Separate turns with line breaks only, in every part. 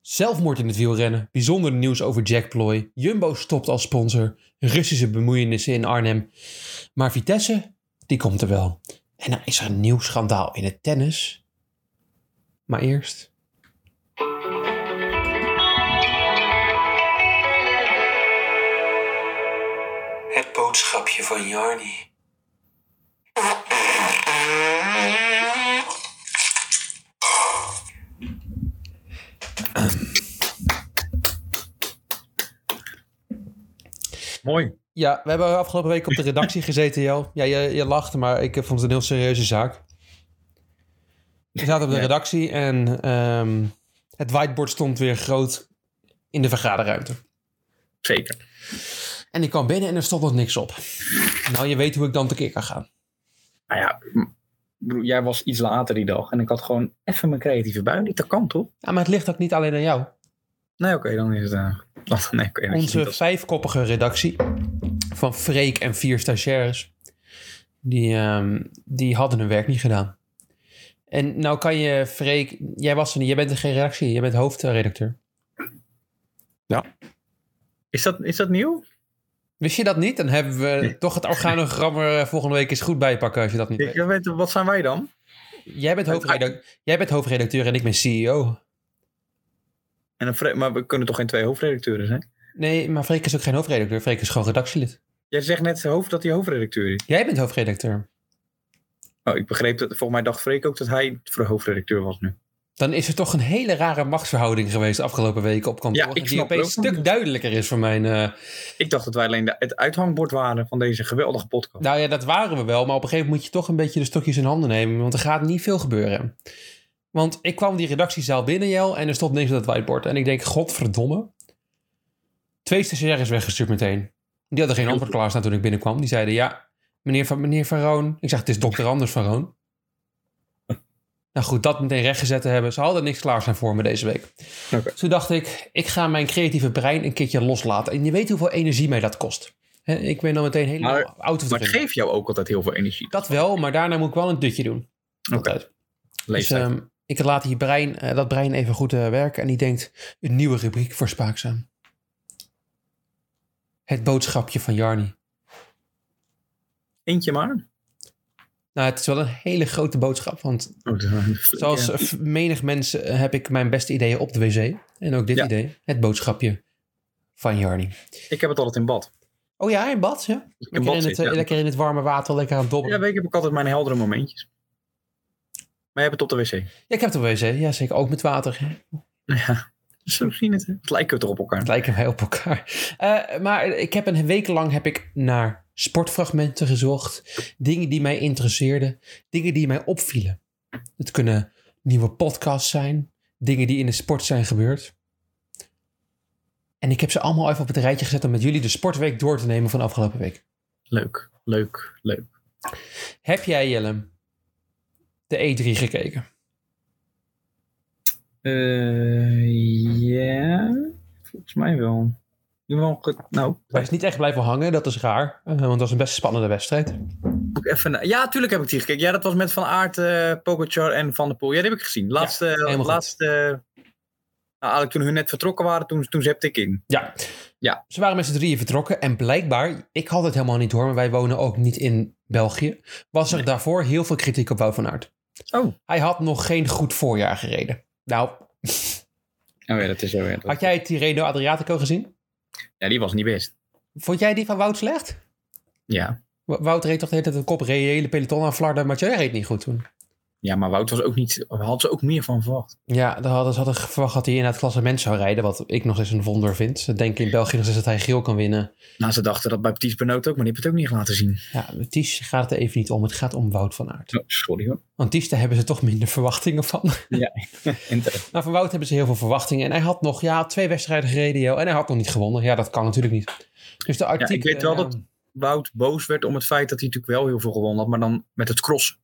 Zelfmoord in het wielrennen, bijzonder nieuws over Jack Ploy, Jumbo stopt als sponsor, Russische bemoeienissen in Arnhem. Maar Vitesse, die komt er wel. En dan is er een nieuw schandaal in het tennis. Maar eerst...
Het boodschapje van Jarni.
Mooi.
Ja, we hebben afgelopen week op de redactie gezeten, Jo. Ja, je, je lachte, maar ik eh, vond het een heel serieuze zaak. We zaten op de
Ja.
redactie en ehm, het whiteboard stond weer groot in de vergaderruimte.
Zeker.
En ik kwam binnen en er stond nog niks op. Nou, je weet hoe ik dan tekeer kan gaan.
Nou ja, m- ik bedoel, jij was iets later die dag. En ik had gewoon even mijn creatieve bui niet. Dat kan toch?
Ja, maar het ligt ook niet alleen aan jou.
Nee, oké, dan is het... eh, dan- nee, oké, dan is het niet
Onze
als-
vijfkoppige redactie van Freek en vier stagiaires, die, ehm, die hadden hun werk niet gedaan. En nou kan je, Freek, jij was er niet, jij bent er geen redactie, jij bent hoofdredacteur.
Is dat, is dat nieuw?
Wist je dat niet? Dan hebben we toch het organogram er eh, volgende week eens goed bijpakken als je dat niet
Ik eh,
weet.
weet, wat zijn wij dan?
Jij bent, hoofdredac- jij bent hoofdredacteur en ik ben E CEO.
En een Fre- maar we kunnen toch geen twee hoofdredacteuren zijn?
Nee, maar Freek is ook geen hoofdredacteur, Freek is gewoon redactielid.
Jij zegt net zijn hoofd dat hij hoofdredacteur is.
Jij bent hoofdredacteur.
Oh, ik begreep dat. Volgens mij dacht Freek ook dat hij voor hoofdredacteur was nu.
Dan is er toch een hele rare machtsverhouding geweest de afgelopen weken op kantoor.
Ja, ik
die
snap het
opeens een
ook
stuk
niet.
duidelijker is voor mijn... eh,
Ik dacht dat wij alleen de- het uithangbord waren van deze geweldige podcast.
Nou ja, dat waren we wel. Maar op een gegeven moment moet je toch een beetje de stokjes in handen nemen. Want er gaat niet veel gebeuren. Want ik kwam die redactiezaal binnen, Jel. En er stond niks op dat whiteboard. En ik denk, godverdomme. Twee stagiaires weggestuurd meteen. Die hadden geen antwoord klaarstaan toen ik binnenkwam. Die zeiden, ja, meneer Van, meneer van Roon. Ik zeg, het is dokter Anders van Roon. Nou goed, dat meteen rechtgezet te hebben. Ze hadden niks klaarstaan voor me deze week.
Oké.
Toen dacht ik, ik ga mijn creatieve brein een keertje loslaten. En je weet hoeveel energie mij dat kost. Hè, ik ben dan meteen helemaal
Maar-
out of the
Maar het
running.
geeft jou ook altijd heel veel energie.
Dat wel, maar daarna moet ik wel een dutje doen. Altijd. Dus
Leeftijd.
ehm, ik laat die brein, eh, dat brein even goed eh, werken. En die denkt, een nieuwe rubriek voor Spaakzaam. Het boodschapje van Jarni.
Eentje maar. Oh,
Nou, het is wel een hele grote boodschap. Want
Oh, dat waren de Freek,
zoals
ja.
eh, menig mensen eh, heb ik mijn beste ideeën op de wc. En ook dit
Ja.
idee. Het boodschapje van Jarni.
Ik heb het altijd in bad.
Oh ja, in bad, ja.
Als ik in
Lekker
bad
in, het,
zit,
eh,
ja.
lekker in het warme water, lekker aan het
Ja,
dobberen. Ja,
weet ik heb ik altijd mijn heldere momentjes. Maar je hebt het op de wc.
ik heb het op de wc. Ja, zeker. Ook met water. hè.
Ja, zo zien het. hè. Het lijken we toch op elkaar.
Het lijken wij op elkaar. Eh, maar ik heb een week lang heb ik naar sportfragmenten gezocht. Dingen die mij interesseerden. Dingen die mij opvielen. Het kunnen nieuwe podcasts zijn. Dingen die in de sport zijn gebeurd. En ik heb ze allemaal even op het rijtje gezet om met jullie de sportweek door te nemen van afgelopen week.
Leuk, leuk, leuk.
Heb jij, Jellem, de E3 gekeken?
Eh, ja, volgens mij wel. Je wel ge- nou,
Hij is niet echt blijven hangen, dat is raar. eh, Want dat was een best spannende wedstrijd.
moet ik even na- ja, tuurlijk heb ik die gekeken. Ja, dat was met Van Aert, eh Pogacar en Van der Poel. Ja, die heb ik gezien. Laatste,
helemaal goed.
laatste nou, eigenlijk toen hun net vertrokken waren, toen, toen zette ik in.
Ja.
Ja.
Ze waren met z'n drieën vertrokken en blijkbaar, ik had het helemaal niet hoor, maar wij wonen ook niet in België, was er
Nee.
daarvoor heel veel kritiek op Wout van Aert.
Oh. Oh
Hij had nog geen goed voorjaar gereden. Nou,
Oh ja, dat is zo. Ja,
had jij het Tirreno Adriatico gezien?
ja, die was niet best.
Vond jij die van Wout slecht?
Ja.
W- Wout reed toch de hele tijd een kop, reed de hele peloton aan flarden, maar jij reed niet goed toen.
ja, maar Wout was ook niet, had ze ook meer van verwacht.
Ja, daar hadden ze hadden verwacht dat hij in het klassement zou rijden, wat ik nog eens een wonder vind. Ze denken in België nog eens dat hij geel kan winnen.
Nou, ze dachten dat bij Petit Benoot ook, maar die heb het ook niet laten zien.
Ja, Ties gaat het er even niet om, het gaat om Wout van Aert.
Oh, sorry hoor.
Want Ties, daar hebben ze toch minder verwachtingen van.
En
Maar Nou, van Wout hebben ze heel veel verwachtingen. En hij had nog ja, twee wedstrijden gereden. joh. En hij had nog niet gewonnen. Ja, dat kan natuurlijk niet. Dus de artikel.
ik weet wel
eh,
dat- Wout boos werd om het feit dat hij natuurlijk wel heel veel gewonnen had, maar dan met het crossen.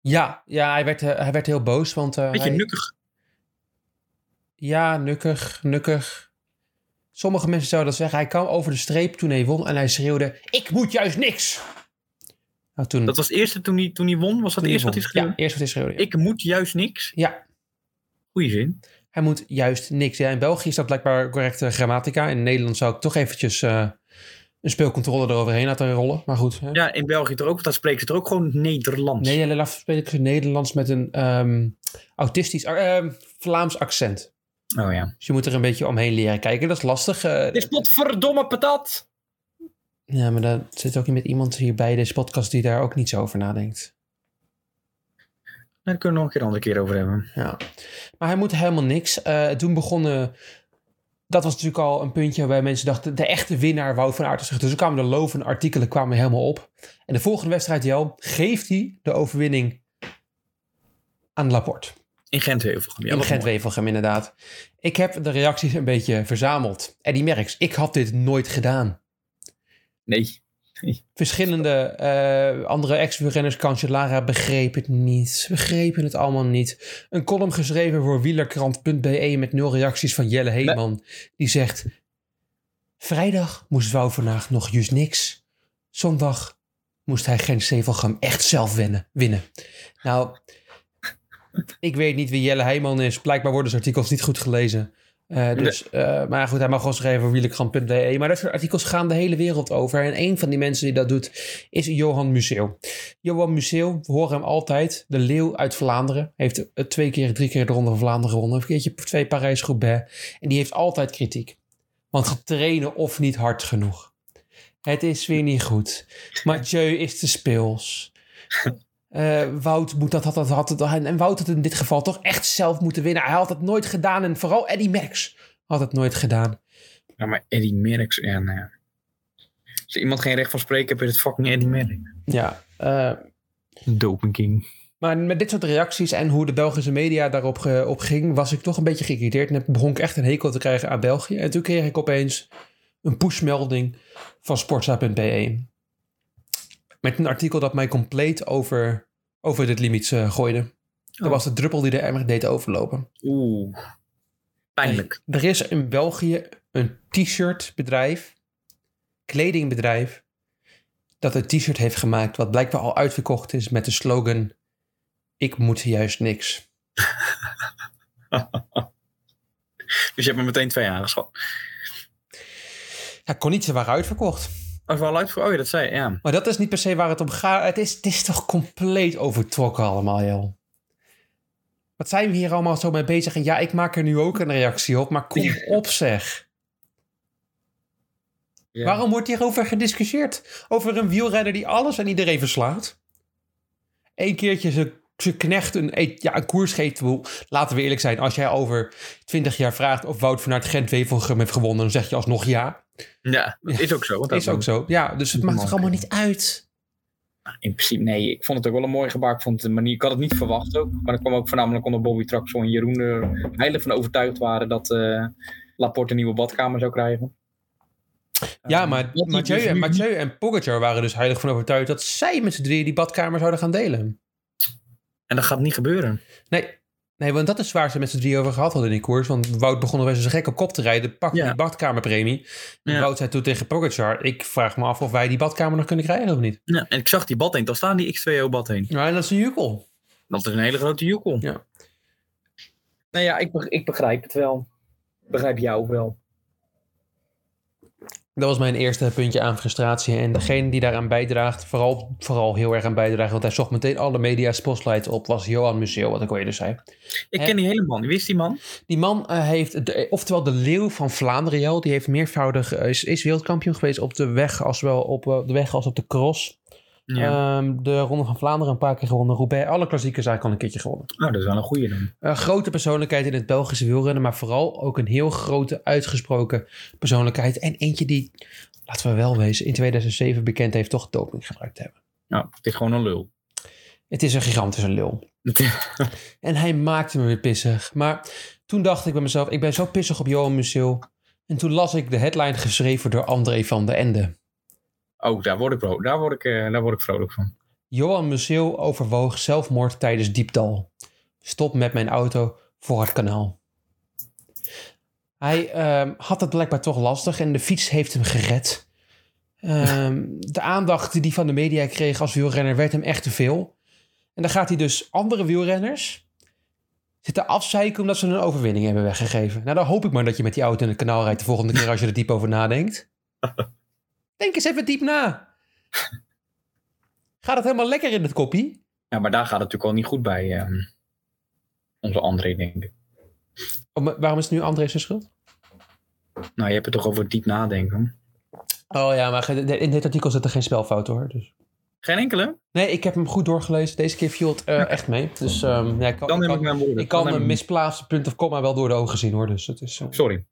Ja, ja hij, werd, eh, hij werd heel boos. Want, eh,
Beetje
hij-
nukkig.
Ja, nukkig, nukkig. Sommige mensen zouden dat zeggen. Hij kwam over de streep toen hij won. En hij schreeuwde: Ik moet juist niks. Nou, toen.
Dat was het eerste toen hij, toen hij won, was dat
toen
het
hij
eerste wat
won.
hij schreeuwde?
Ja, eerst wat hij schreeuwde. ja.
Ik moet juist niks.
Ja,
Goeie zin.
Hij moet juist niks. Ja, in België is dat blijkbaar correcte grammatica. In Nederland zou ik toch eventjes eh, een speelcontrole eroverheen laten rollen. Maar goed. Hè?
Ja, in België toch ook, want daar spreken ze toch ook gewoon Nederlands.
Nee, helaas spreek ik ze Nederlands met een ehm, autistisch, eh, ehm, Vlaams accent.
Oh ja.
Dus je moet er een beetje omheen leren kijken. Dat is lastig. eh.
Dit is potverdomme patat!
ja, maar daar zit ook met iemand hier bij deze podcast die daar ook niet zo over nadenkt.
Daar kunnen we nog een keer een andere keer over hebben.
Ja. Maar hij moet helemaal niks. Eh, toen begonnen. Dat was natuurlijk al een puntje waarbij mensen dachten... de echte winnaar Wout van Aert is terug. Dus er kwamen de lovende artikelen kwamen helemaal op. En de volgende wedstrijd, Jel, geeft hij de overwinning aan Laporte.
In Gent-Heuvelgem. Ja,
in
wat mooi.
Gent-Wevelgem, inderdaad. Ik heb de reacties een beetje verzameld. En die merks, ik had dit nooit gedaan.
Nee.
Verschillende eh, andere ex-wielrenners, Cancellara, begreep het niet. Begrepen het allemaal niet. Een column geschreven voor wielerkrant.be E met nul reacties van Jelle Heeman. Die zegt, vrijdag moest Wou vandaag nog juist niks. Zondag moest hij geen Zevelgem echt zelf winnen. winnen. Nou, ik weet niet wie Jelle Heeman is. Blijkbaar worden zijn artikels niet goed gelezen. Eh, dus, eh, maar goed, hij mag gewoon schrijven voor wielerkrant.be. E, Maar dat soort artikels gaan de hele wereld over. En een van die mensen die dat doet is Johan Museeuw. Johan Museeuw, we horen hem altijd. De leeuw uit Vlaanderen. Heeft eh, twee keer, drie keer de Ronde van Vlaanderen gewonnen. Een keertje twee Parijs-Roubaix. En die heeft altijd kritiek. Want getrainen of niet hard genoeg. Het is weer niet goed. Mathieu is te speels. Eh, Wout moet dat, had dat, had dat. En, en Wout had het in dit geval toch echt zelf moeten winnen. Hij had het nooit gedaan. En vooral Eddie Merckx had het nooit gedaan.
Ja, maar Eddie Merckx. Ja, nou ja. Als iemand geen recht van spreken hebt, is het fucking Eddie Merckx.
Ja, eh,
Doping King.
maar met dit soort reacties en hoe de Belgische media daarop ge- op ging, was ik toch een beetje geïrriteerd. En begon ik echt een hekel te krijgen aan België. En toen kreeg ik opeens een pushmelding van sportza.be. Met een artikel dat mij compleet over, over dit limiet eh, gooide. Dat
Oh.
was de druppel die de emmer deed overlopen.
Oeh. Pijnlijk.
Er is in België een t-shirt bedrijf, kledingbedrijf, dat een t-shirt heeft gemaakt wat blijkbaar al uitverkocht is met de slogan ik moet juist niks.
Dus je hebt me meteen twee aangeschaft.
Ja, kon niet, ze waren uitverkocht.
Als wel uit voor. Oh ja, dat zei je, ja.
Maar dat is niet per se waar het om gaat. Het is, het is toch compleet overtrokken allemaal, joh. Wat zijn we hier allemaal zo mee bezig? En ja, ik maak er nu ook een reactie op, maar kom op zeg.
ja.
Waarom wordt hierover gediscussieerd? Over een wielrenner die alles en iedereen verslaat? Eén keertje ze, ze knecht een, e- ja, een koers geeft. Ik bedoel, Laten we eerlijk zijn. Als jij over twintig jaar vraagt of Wout van Aert Gent-Wevelgem heeft gewonnen... dan zeg je alsnog ja.
Ja, dat is ook zo. Want
Dat is ook zo. Ja, dus het
Dat
maakt toch
mag.
allemaal niet uit?
In principe, nee. Ik vond het ook wel een mooi gebaar. Ik vond de manier, ik had het niet verwacht ook. Maar dat kwam ook voornamelijk omdat Bobby Traxel en Jeroen er heilig van overtuigd waren dat eh, Laporte een nieuwe badkamer zou krijgen.
Ja,
Eh,
maar
dat hij
Mathieu
dus
en,
nu-
Mathieu en Pogacar waren dus heilig van overtuigd... dat zij met z'n drieën die badkamer zouden gaan delen.
En dat gaat niet gebeuren.
Nee, nee want dat is waar ze met z'n drieën over gehad hadden in die koers. Want Wout begon er best eens gek op kop te rijden. Pakte
Ja.
die badkamerpremie. En
Ja.
Wout zei toen tegen Pogacar... ik vraag me af of wij die badkamer nog kunnen krijgen of niet.
Ja, en ik zag die bad heen. Daar staan die X2O bad heen.
Nou, en dat is een jukkel.
Dat is een hele grote joekel.
Ja.
Nou ja, ik, beg- ik begrijp het wel. Ik begrijp jou ook wel.
Dat was mijn eerste puntje aan frustratie. En degene die daaraan bijdraagt, vooral, vooral heel erg aan bijdraagt... want hij zocht meteen alle media spotlight op... was Johan Museeuw, wat ik al eerder zei.
Ik
Hè?
ken die hele man. Wie is die man?
Die man eh, heeft, de- oftewel de leeuw van Vlaanderen, Jel, die heeft meervoudig, eh, is, is wereldkampioen geweest op de weg, als wel op eh, de weg als op de cross. Ehm, de Ronde van Vlaanderen een paar keer gewonnen. Roubaix, alle klassiekers eigenlijk al een keertje gewonnen.
Nou, dat is wel een goede dan.
Een Eh, grote persoonlijkheid in het Belgische wielrennen, maar vooral ook een heel grote uitgesproken persoonlijkheid. En eentje die, laten we wel wezen, in 2007 bekend heeft toch doping gebruikt te hebben.
Nou, het is gewoon een lul.
Het is een gigantische lul. En hij maakte me weer pissig. Maar toen dacht ik bij mezelf, ik ben zo pissig op Johan Musil. En toen las ik de headline geschreven door André van de Ende.
oh, daar word ik, bro- daar word ik, eh, daar word ik vrolijk van.
Johan Musil overwoog zelfmoord tijdens diepdal. Stop met mijn auto voor het kanaal. Hij ehm, had het blijkbaar toch lastig en de fiets heeft hem gered. Ehm, de aandacht die hij van de media kreeg als wielrenner werd hem echt te veel. En dan gaat hij dus andere wielrenners zitten afzeiken omdat ze een overwinning hebben weggegeven. Nou, dan hoop ik maar dat je met die auto in het kanaal rijdt de volgende keer als je er diep over nadenkt. Denk eens even diep na. Gaat het helemaal lekker in het koppie?
Ja, maar daar gaat het natuurlijk al niet goed bij eh, onze André, denk ik.
Oh, maar waarom is het nu André zijn schuld?
Nou, je hebt het toch over diep nadenken.
Oh ja, maar ge- de- in dit artikel zit er geen spelfout hoor. Dus.
Geen enkele?
Nee, ik heb hem goed doorgelezen. Deze keer viel het eh, echt mee. Dus ehm, ja, ik kan,
Dan
ik
neem
kan,
ik mijn woorden.
ik kan
Dan neem
een
ik-
misplaatste punt of komma wel door de ogen zien hoor. Dus het, is, eh,
Sorry.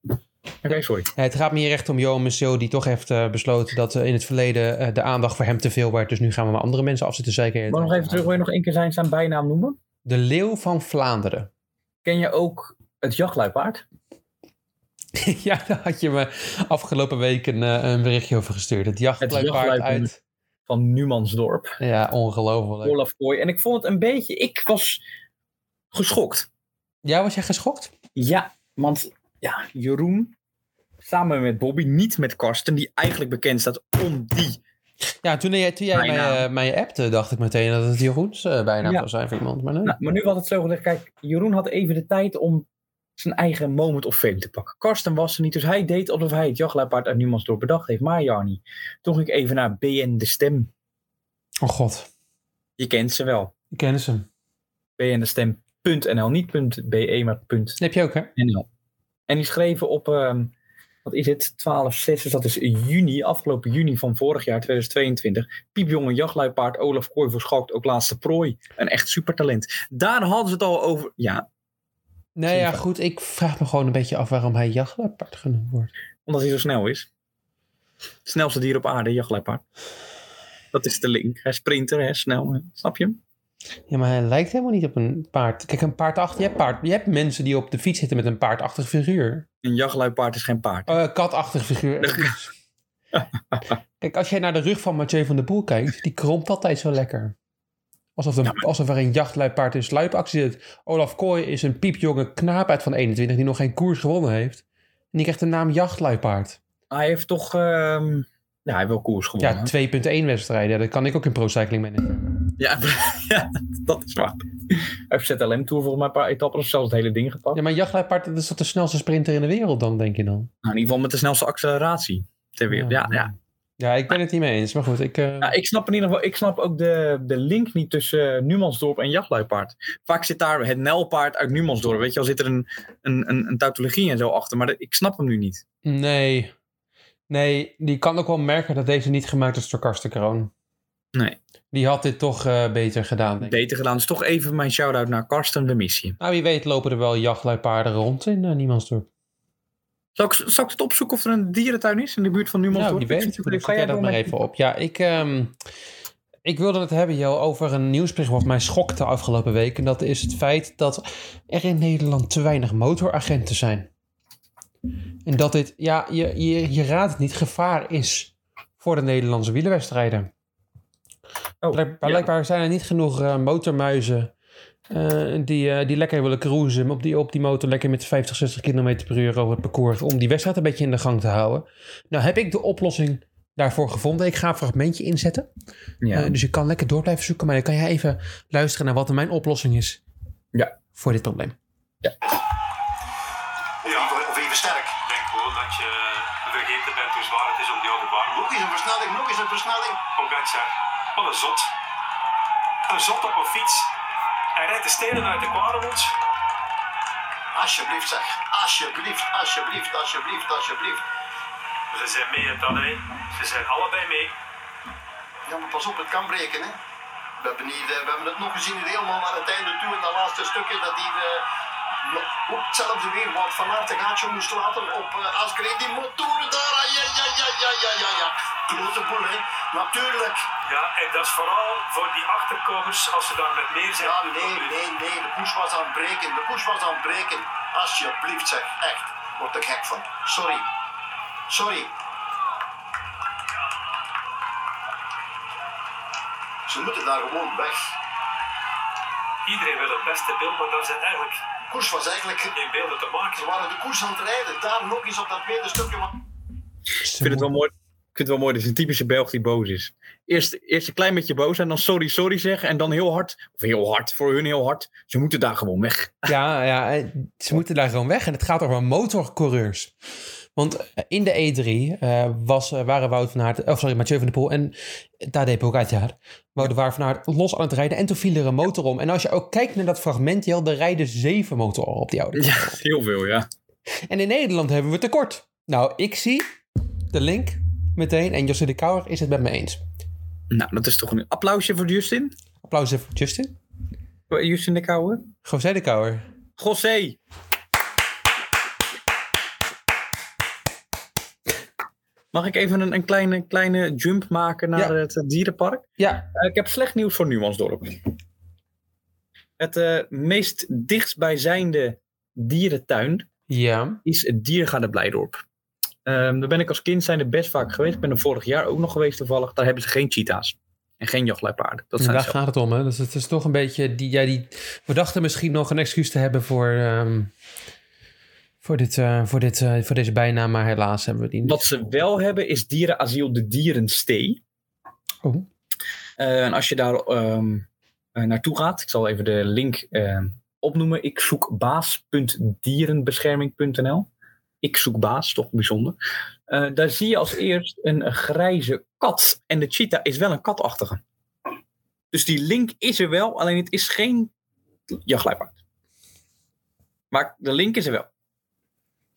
Oké, sorry.
ja, het gaat me hier echt om Johan Museeuw die toch heeft eh, besloten dat eh, in het verleden eh, de aandacht voor hem te veel werd. Dus nu gaan we maar andere mensen afzitten zeiken.
Maar nog even terug, wil je nog één keer zijn, zijn bijnaam noemen?
De Leeuw van Vlaanderen.
Ken je ook het jachtluipaard?
ja, daar had je me afgelopen week een, eh, een berichtje over gestuurd. Het jachtluipaard
jachtluipaard.
uit.
Van Numansdorp.
Ja, ongelooflijk.
Olaf Kooi. En ik vond het een beetje... Ik was geschokt.
Ja, was jij geschokt?
Ja, want ja, Jeroen samen met Bobby, niet met Karsten, die eigenlijk bekend staat om die.
Ja, toen jij, toen jij mij,
Bijnaam.
eh, mij appte, dacht ik meteen dat het Jeroens eh bijnaam
Ja.
zou zijn voor iemand. Maar nee.
Nou, maar nu was het zo gelegd. Kijk, Jeroen had even de tijd om zijn eigen moment of fame te pakken. Karsten was er niet, dus hij deed alsof hij het jachtluipaard uit Niemans door bedacht heeft. Maar Jarni, toen ging ik even naar BN De Stem.
Oh god,
Je kent ze wel.
ik ken ze. hem.
BN De Stem.nl, niet .be, maar punt
heb je ook, hè?
NL. En die schreven op, ehm, wat is het, 12-6, dus dat is juni, afgelopen juni van vorig jaar, 2022. Piepjonge jachtluipaard Olaf Kooi verschalkt ook laatste prooi. Een echt supertalent. Daar hadden ze het al over. Ja,
Nou ja,
Super.
goed, ik vraag me gewoon een beetje af waarom hij jachtluipaard genoemd wordt.
omdat hij zo snel is. Het snelste dier op aarde, jachtluipaard. Dat is de link. Hij springt er, hè, snel. hè. Snap je hem?
Ja, maar hij lijkt helemaal niet op een paard. Kijk, een paardachtig... Je hebt, paard, je hebt mensen die op de fiets zitten met een paardachtig figuur.
Een jachtluipaard is geen paard.
Eh, katachtig figuur. excuus. Kijk, als jij naar de rug van Mathieu van der Poel kijkt, die krompt altijd zo lekker. Alsof, de, alsof er een jachtluipaard in sluipactie zit. Olaf Kooi is een piepjonge knaap uit van 21 die nog geen koers gewonnen heeft. En die krijgt de naam jachtluipaard.
Hij heeft toch... ehm, ja, hij heeft wel koers gewonnen.
Ja, 2.1 wedstrijden. Ja, dat kan ik ook in Pro Cycling Manager.
Ja, ja, dat is waar. Hij heeft ZLM Tour volgens mij een paar etappes of zelfs het hele ding gepakt.
Ja, maar jachtluipaard, dat is toch de snelste sprinter in de wereld dan, denk je dan?
Nou, in ieder geval met de snelste acceleratie ter wereld. Ja, ja.
Ja, ik ben het niet mee eens. Maar goed, ik... eh,
Ja, ik snap in ieder geval ik snap ook de, de link niet tussen eh, Numansdorp en jachtluipaard. Vaak zit daar het Nelpaard uit Numansdorp. Weet je wel, zit er een, een, een, een tautologie en zo achter. Maar dat- ik snap hem nu niet.
Nee. Nee, die kan ook wel merken dat deze niet gemaakt is door Karsten Kroon.
Nee.
Die had dit toch eh, beter gedaan, denk ik.
Beter gedaan. Dus toch even mijn shout-out naar Karsten de Missie.
Nou, wie weet lopen er wel jachtluipaarden rond in eh, Niemandsdorp.
Zal ik, zal ik het opzoeken of er een dierentuin is in de buurt van
Nou,
Numansdorp?
die
Ik
weet.
zoek het
Goed, dan Zoek jij
even.
dat
door
maar
met-
even op. Ja, ik, ehm, ik wilde het hebben, Jo, over een nieuwsbericht wat mij schokte afgelopen week. En dat is het feit dat er in Nederland te weinig motoragenten zijn. En dat dit, ja, je, je, je raadt het niet, gevaar is voor de Nederlandse wielerwedstrijden.
Oh,
Blijk-
ja.
Blijkbaar zijn er niet genoeg eh, motormuizen eh, die, eh, die lekker willen cruisen. Op die, op die motor lekker met 50, 60 km per uur over het parcours. Om die wedstrijd een beetje in de gang te houden. Nou heb ik de oplossing daarvoor gevonden. Ik ga een fragmentje inzetten.
Ja.
Eh, dus je kan lekker door blijven zoeken. Maar dan kan jij even luisteren naar wat mijn oplossing is
Ja.
voor dit probleem.
Ja,
Of of even sterk.
ik denk gewoon dat je vergeten bent hoe zwaar het is om die andere baan.
Nog eens een versnelling, nog eens een versnelling.
Pogacar, wat een zot. Een zot op een fiets. Hij rijdt de stenen uit de kwalenmond.
Alsjeblieft zeg. Alsjeblieft, alsjeblieft, alsjeblieft, alsjeblieft.
Ze zijn mee en dan, hè. Ze zijn allebei mee.
Ja, maar pas op, het kan breken, hè. We hebben, hier, eh, we hebben het nog gezien hier helemaal naar het einde toe. En dat laatste stukje dat hier eh, nog op hetzelfde weer wat van Aert een gaatje moest laten op uh, Die motoren daar, ah, ja, ja, ja, ja, ja, ja, ja. Klote boel, hè. Natuurlijk.
Ja, en dat is vooral voor die achterkomers als ze daar met meer zijn.
Ja, nee, nee, nee. De push was aan het breken. De push was aan het breken. Alsjeblieft, zeg. Echt. Word ik gek van. Sorry. Sorry. Ze moeten daar gewoon weg.
Iedereen wil het beste beeld, maar daar zijn eigenlijk
koers was eigenlijk.
geen beelden te maken.
Ze waren de koers aan het rijden. Daar nog eens op dat tweede stukje.
Ik
Ik vind het wel mooi. vind het wel mooi, dit is een typische Belg die boos is. Eerst, eerst een klein beetje boos en dan sorry, sorry zeggen. En dan heel hard, of heel hard, voor hun heel hard. Ze moeten daar gewoon weg.
Ja, ja, eh, ze moeten daar gewoon weg. En het gaat over motorcoureurs. Want eh, in de E3 eh, was, eh, waren Wout van Aert, of sorry, Mathieu van der Poel en Tadej Pogacar, Wout waren van Aert los aan het rijden en toen viel er een motor om. En als je ook kijkt naar dat fragment, Jel, er rijden zeven motoren op die oude.
Ja, heel veel, ja.
En in Nederland hebben we tekort. Nou, ik zie de link meteen en José de Kouwer is het met me eens.
Nou, dat is toch een applausje voor Justin?
Applaus even voor Justin.
Voor Justin de Kouwer?
José de Kouwer.
José! Mag ik even een, een kleine, kleine jump maken naar
Ja.
het eh, dierenpark?
Ja,
Eh, ik heb slecht nieuws voor Nuansdorp. Het eh, meest dichtstbijzijnde dierentuin
ja,
is het Diergaarde Blijdorp. Ehm daar ben ik als kind zijn er best vaak geweest. Ik ben er vorig jaar ook nog geweest toevallig. Daar hebben ze geen cheetahs en geen jachtluipaarden. Dat zijn
daar
ze
gaat het om. Hè? Dus het is toch een beetje... Die, ja, die, we dachten misschien nog een excuus te hebben voor, ehm, voor, dit, eh, voor, dit, eh, voor deze bijnaam, maar helaas hebben we die niet.
Wat ze wel hebben is dierenasiel de dierenstee.
Oh.
Eh, en als je daar ehm, eh, naartoe gaat, ik zal even de link ehm, opnoemen. Ik zoek baas.dierenbescherming.nl. Ik zoek baas, toch bijzonder. Eh, daar zie je als eerst een grijze kat. En de cheetah is wel een katachtige. Dus die link is er wel, alleen het is geen jachtluipaard. Maar de link is er wel.
Je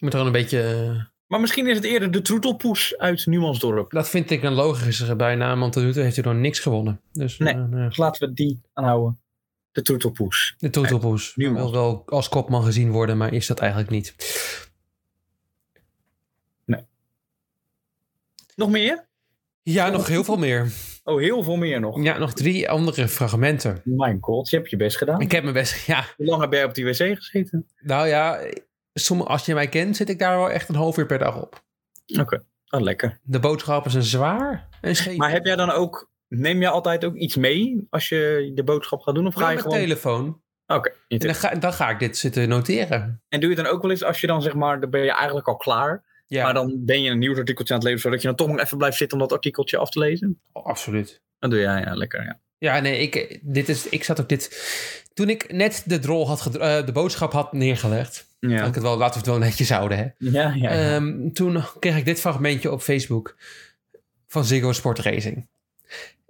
moet er gewoon een beetje... eh,
Maar misschien is het eerder de troetelpoes uit Numansdorp.
Dat vind ik een logische bijnaam, want tot nu toe heeft hij nog niks gewonnen. Dus
Nee.
eh, nou ja.
Dus laten we die aanhouden. De troetelpoes.
de Toetelpoes
Nee, niemand.
wil wel als kopman gezien worden, maar is dat eigenlijk niet.
Nog meer?
Ja, nog heel veel meer.
Oh, heel veel meer nog.
Ja, nog drie andere fragmenten.
Mijn god, je hebt je best gedaan.
Ik heb mijn best... Ja,
Hoe lang heb jij op die wc gezeten?
Nou ja, somm- als je mij kent, zit ik daar wel echt een half uur per dag op.
Oké, ah, lekker.
De boodschappen zijn zwaar en scheef.
Maar heb jij dan ook, neem jij altijd ook iets mee als je de boodschap gaat doen? Of ga
Gewoon
je
mijn
gewoon...
telefoon.
Oké.
En dan
je tele-
ga, dan ga ik dit zitten noteren.
En doe je het dan ook wel eens als je dan zeg maar, dan ben je eigenlijk al klaar.
Ja,
Maar dan ben je een nieuwsartikeltje aan het lezen, zodat je dan toch nog even blijft zitten om dat artikeltje af te lezen.
Oh, absoluut.
Dat doe jij, ja, lekker. Ja.
Ja, nee, ik, dit is, ik zat ook dit... Toen ik net de, drol had gedro- eh, de boodschap had neergelegd... Had
Ja,
ik het wel, laten we het wel netjes houden, hè.
ja, ja.
Ehm, toen kreeg ik dit fragmentje op Facebook van Ziggo Sport Racing.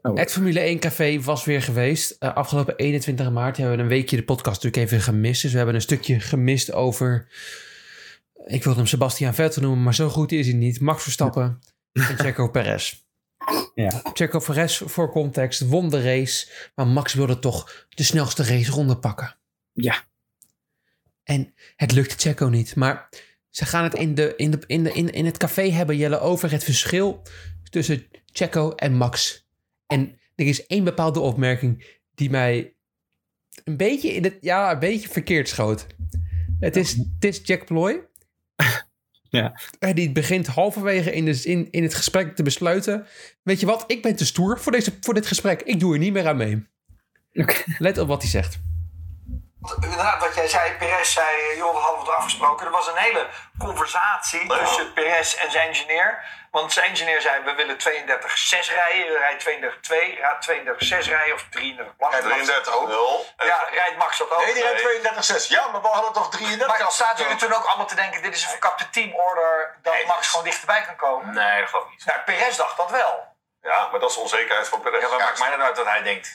Oh.
Het Formule 1 café was weer geweest. Eh, afgelopen 21 maart hebben we een weekje de podcast natuurlijk even gemist. Dus we hebben een stukje gemist over... Ik wilde hem Sebastian Vettel noemen, maar zo goed is hij niet. Max Verstappen en Checo Perez.
Ja.
Checo Perez, voor context, won de race. Maar Max wilde toch de snelste raceronde pakken.
Ja.
En het lukte Checo niet. Maar ze gaan het in, de, in, de, in, de, in, in het café hebben, Jelle, over het verschil tussen Checo en Max. En er is één bepaalde opmerking die mij een beetje, in het, ja, een beetje verkeerd schoot. Het is, het is Jack Ploy.
Ja.
En die begint halverwege in, de, in, in het gesprek te besluiten. Weet je wat, ik ben te stoer voor, deze, voor dit gesprek. Ik doe er niet meer aan mee.
Oké.
Let op wat hij zegt.
Inderdaad, wat jij zei, Perez zei, eh, joh, we hadden wat afgesproken. Er was een hele conversatie tussen Perez en zijn engineer. Want zijn engineer zei, we willen 32-6 rijden. Je rijdt 32-2, raadt 32-6 rijden of 33
En 33 ook.
Ja, rijdt Max dat ook?
Nee, die rijdt 32-6. Ja, maar we hadden toch 33
Maar zaten jullie toen ook allemaal te denken, dit is een verkapte teamorder, dat Max gewoon dichterbij kan komen?
Nee, dat geloof ik niet.
Nou, Perez dacht dat wel.
Ja, maar dat is onzekerheid van Perez.
Ja, maar maakt mij dan uit wat hij denkt.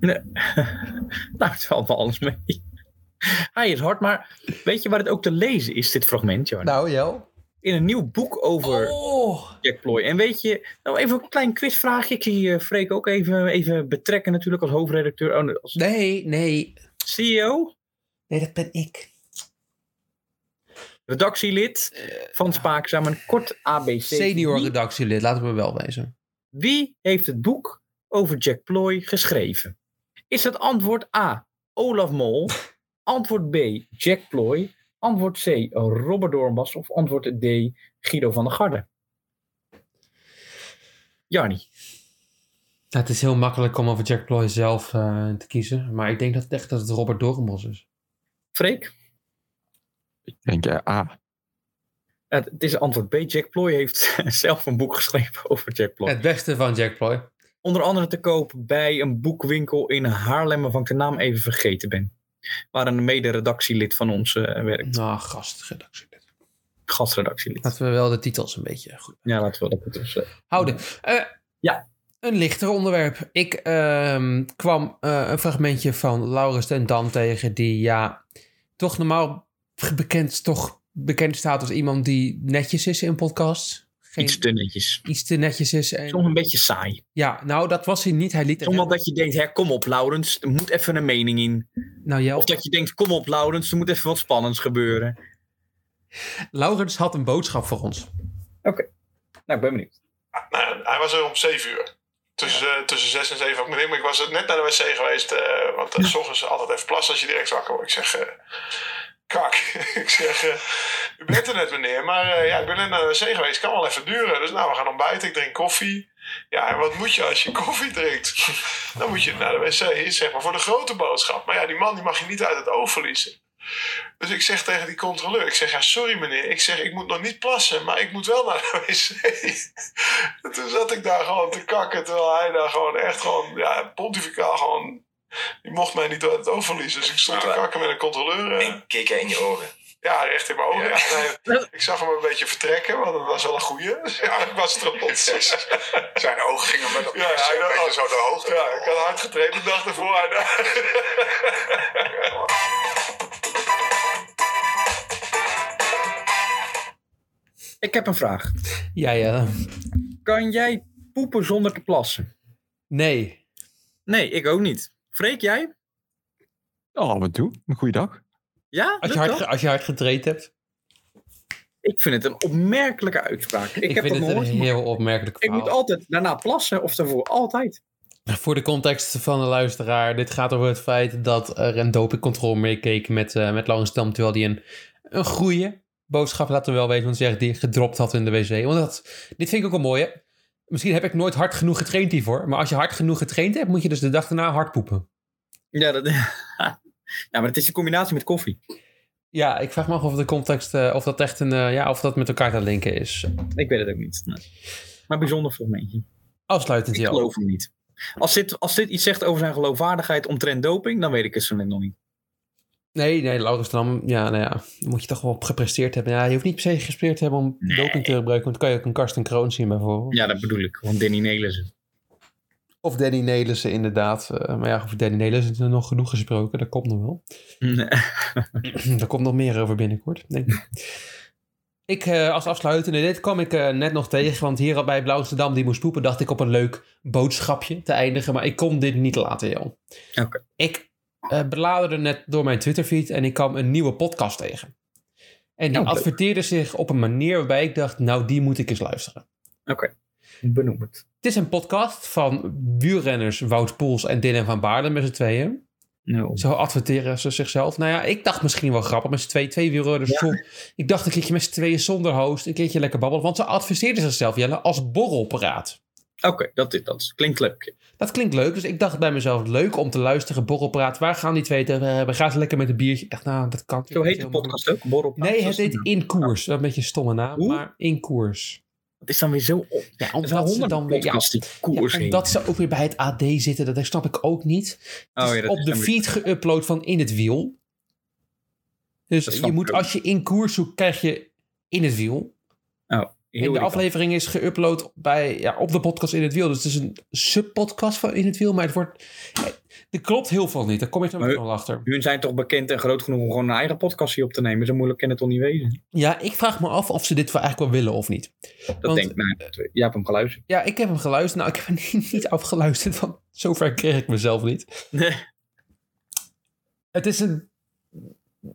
Nee. nou, het valt me alles mee. Hij is hard, maar weet je waar het ook te lezen is, dit fragment, Johan?
Nou, Jel.
in een nieuw boek over
Oh,
Jack Ploy. En weet je, nou even een klein quizvraagje. Ik zie eh, Freek ook even, even betrekken natuurlijk als hoofdredacteur, oh, nee, als E
nee, nee.
CEO,
Nee, dat ben ik.
redactielid
Eh,
van Spaakzaam. Een kort ABC.
Senior
Wie,
redactielid, laten we wel wezen.
wie heeft het boek over Jack Ploy geschreven? Is het antwoord A, Olaf Mol? Antwoord B, Jack Ploy? Antwoord C, Robert Doornbas? Of antwoord D, Guido van der Garde? Jarnie.
Nou, het is heel makkelijk om over Jack Ploy zelf eh, te kiezen. Maar ik denk dat het echt dat het Robert Dormos is.
Freek?
Ik denk, ja, A.
Het, het is antwoord B. Jack Ploy heeft zelf een boek geschreven over Jack Ploy.
Het beste van Jack Ploy.
Onder andere te koop bij een boekwinkel in Haarlem, waarvan ik de naam even vergeten ben. Waar een mede-redactielid van ons eh, werkt,
Nou, gastredactie.
gastredactielid.
Laten we wel de titels een beetje goed
Ja, laten we dat goed eens zeggen.
houden. Eh,
Ja.
Een lichter onderwerp. Ik ehm, kwam eh, een fragmentje van Laurens ten Dam tegen die ja, toch normaal bekend, toch bekend staat als iemand die netjes is in podcasts. Geen,
Iets te netjes.
iets te netjes is. En,
Soms een beetje saai.
ja, nou dat was hij niet. Hij liet
Soms wel dat je denkt, hè, kom op Laurens, er moet even een mening in.
Nou ja,
Of dat je denkt, kom op Laurens, er moet even wat spannends gebeuren.
Laurens had een boodschap voor ons.
Nou, ik ben benieuwd.
Nou, hij was er om 7 uur. Tussen, eh, tussen 6 en 7. Ik, denk, ik was net naar de wc geweest. eh, want eh, s ochtends altijd even plassen als je direct wakker wordt. Ik zeg. eh, kak. ik zeg. eh, u bent er net, meneer. Maar eh, ja, ik ben net naar de wc geweest. Kan wel even duren. Dus nou, we gaan ontbijten. Ik drink koffie. Ja, en wat moet je als je koffie drinkt? Dan moet je naar de wc, zeg maar, voor de grote boodschap. Maar ja, die man die mag je niet uit het oog verliezen. Dus ik zeg tegen die controleur, ik zeg, ja, sorry meneer, ik zeg, ik moet nog niet plassen, maar ik moet wel naar de wc. En Toen zat ik daar gewoon te kakken, terwijl hij daar gewoon echt gewoon, ja, pontificaal gewoon, die mocht mij niet uit het oog verliezen. Dus ik stond te kakken met een controleur. eh,
En kikken in je oren.
ja, recht in mijn ogen.
Ja.
Ja, nee, ik zag hem een beetje vertrekken, want dat was wel een goeie. Ja, ik was trots.
Zijn ogen gingen met
Ja, hij
een beetje
dacht-
zo de hoogte.
Ja, ik had hard getraind de dag ervoor.
Ik heb een vraag.
Ja, ja.
Kan jij poepen zonder te plassen?
Nee.
Nee, ik ook niet. Freek, jij?
Oh, wat doe? Een goede dag.
Ja?
Als je
Lukt
hard,
dat?
ge- als je hard getraind hebt.
Ik vind het een opmerkelijke uitspraak. Ik,
Ik,
heb
vind
dat
het
nog
een
nooit gemaakt.
heel opmerkelijk
Ik
verhaal.
moet altijd daarna plassen of daarvoor. Altijd.
Voor de context van de luisteraar, dit gaat over het feit dat er een dopingcontrole meekeek met, eh met Laurens Dam, terwijl hij een, een goede boodschap laten we wel weten, want hij zegt die hij gedropt had in de wc. Want dat, dit vind ik ook een mooie. Misschien heb ik nooit hard genoeg getraind hiervoor, maar als je hard genoeg getraind hebt, moet je dus de dag daarna hard poepen.
Ja, dat... ja, maar het is een combinatie met koffie.
Ja, ik vraag me af of de context, eh, of dat echt een, eh, ja, of dat met elkaar te linken is.
Ik weet het ook niet. Nee. Maar bijzonder fragmentje.
Afsluitend,
Ik
ja.
geloof hem niet. Als dit, als dit iets zegt over zijn geloofwaardigheid omtrent doping, dan weet ik het zo net nog niet.
Nee, nee, Laurens Dam, ja, nou ja, dan moet je toch wel gepresteerd hebben. Ja, je hoeft niet per se gepresteerd te hebben om doping te gebruiken, want dan kan je ook een Karsten Kroon zien bijvoorbeeld.
Ja, dat bedoel ik. Want Danny Nelissen.
Of Danny Nelissen inderdaad. Eh, maar ja, over Danny Nelissen is er nog genoeg gesproken. Daar komt nog wel. Daar Hm, komt nog meer over binnenkort, denk ik. Ik eh, als afsluitende, dit kwam ik eh, net nog tegen. Want hier bij Blauw Amsterdam, die moest poepen, dacht ik op een leuk boodschapje te eindigen. Maar ik kon dit niet laten, joh.
Oké.
Ik eh, bladerde net door mijn Twitterfeed en ik kwam een nieuwe podcast tegen. En die
Nou, leuk.
adverteerde zich op een manier waarbij ik dacht, nou die moet ik eens luisteren.
Oké. Benoem het.
Het is een podcast van wielrenners Wout Poels en Dylan van Baarden met z'n tweeën.
No.
Zo adverteren ze zichzelf. Nou ja, ik dacht misschien wel grappig met z'n tweeën, twee wielrenners. zon- Ik dacht een keertje met z'n tweeën zonder host, een keertje lekker babbelen. Want ze adverteerden zichzelf, Jelle, als borrelpraat.
Oké, dat, is- dat is- klinkt leuk.
Dat klinkt leuk, dus ik dacht bij mezelf, leuk om te luisteren, borrelpraat. Waar gaan die twee tegen hebben? Gaan ze lekker met een biertje? Echt, nou, dat kan.
Zo heet de
natuurlijk niet
podcast ook. Borrel.
helemaal. Nee, het heet In Koers. Dat is een beetje een stomme naam,
Hoe?
maar In Koers.
Het is dan weer zo op.
Ja,
Er zijn
omdat ze
honderd
dan weer... Ja,
podcasts die koers
ja,
heen.
omdat ze ook weer bij het AD zitten, dat snap ik ook niet. Het is
Oh, ja,
Dus
dat
op
is
de
dan weer-
feed geüpload van In het Wiel. Dus
Dat
je
snap
moet,
ik ook.
als je in koers zoekt, krijg je In het Wiel.
Heel
en de
irritant.
aflevering is geüpload bij, ja, op de podcast In het Wiel. Dus het is een subpodcast van In het Wiel. Maar het wordt... Er klopt heel veel niet. Daar kom ik dan
Maar-
nog wel achter.
Hun zijn toch bekend en groot genoeg om gewoon een eigen podcast hier op te nemen. Zo moeilijk kan het toch niet wezen?
Ja, ik vraag me af of ze dit wel eigenlijk wel willen of niet.
Dat
Want-
denk ik. Nou, jij hebt hem geluisterd.
Ja, ik heb hem geluisterd. Nou, ik heb hem niet, niet afgeluisterd, want zover kreeg ik mezelf niet.
Nee.
Het is een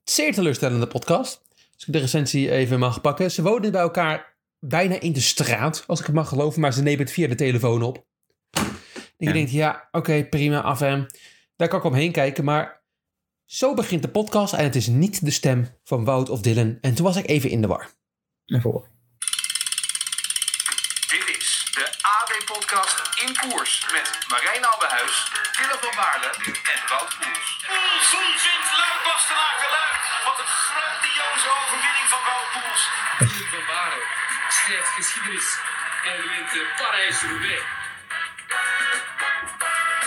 zeer teleurstellende podcast. Als ik de recensie even mag pakken. Ze wonen bij elkaar bijna in de straat, als ik het mag geloven. Maar ze nemen het via de telefoon op. En je
Ja.
denkt, ja, oké, prima, af hem. Daar kan ik omheen kijken, maar... Zo begint de podcast en het is niet de stem van Wout of Dylan. En toen was ik even in de war.
Even horen.
Dit is de AD-podcast In Koers met Marijn Abbehuis, Willem van Baarle en Wout Koers.
Poelsen vindt Luik Bastenaken Luik. Wat een grandioze overwinning van Wout Poels. Van
schrijft geschiedenis en wint de Parijs-Roubaix.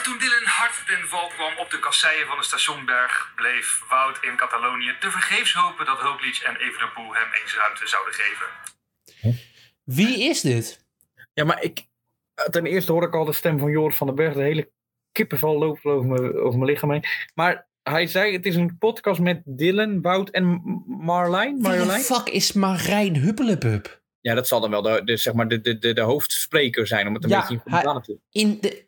Toen Dylan hard ten val kwam op de kasseien van de stationberg, bleef Wout in Catalonië tevergeefs hopen dat Roglic en Evenepoel hem eens ruimte zouden geven.
Wie is dit?
Ja, maar ik. Ten eerste hoor ik al de stem van Joris van den Berg. De hele kippenval loopt over mijn, over mijn lichaam heen. Maar hij zei: het is een podcast met Dylan, Wout en M- Marlijn.
Wie de
Marjolein?
fuck is Marijn Huppelepup?
Ja, dat zal dan wel de, de, zeg maar de, de, de, de hoofdspreker zijn, om het een
Ja,
beetje in
hij-
te doen.
In de,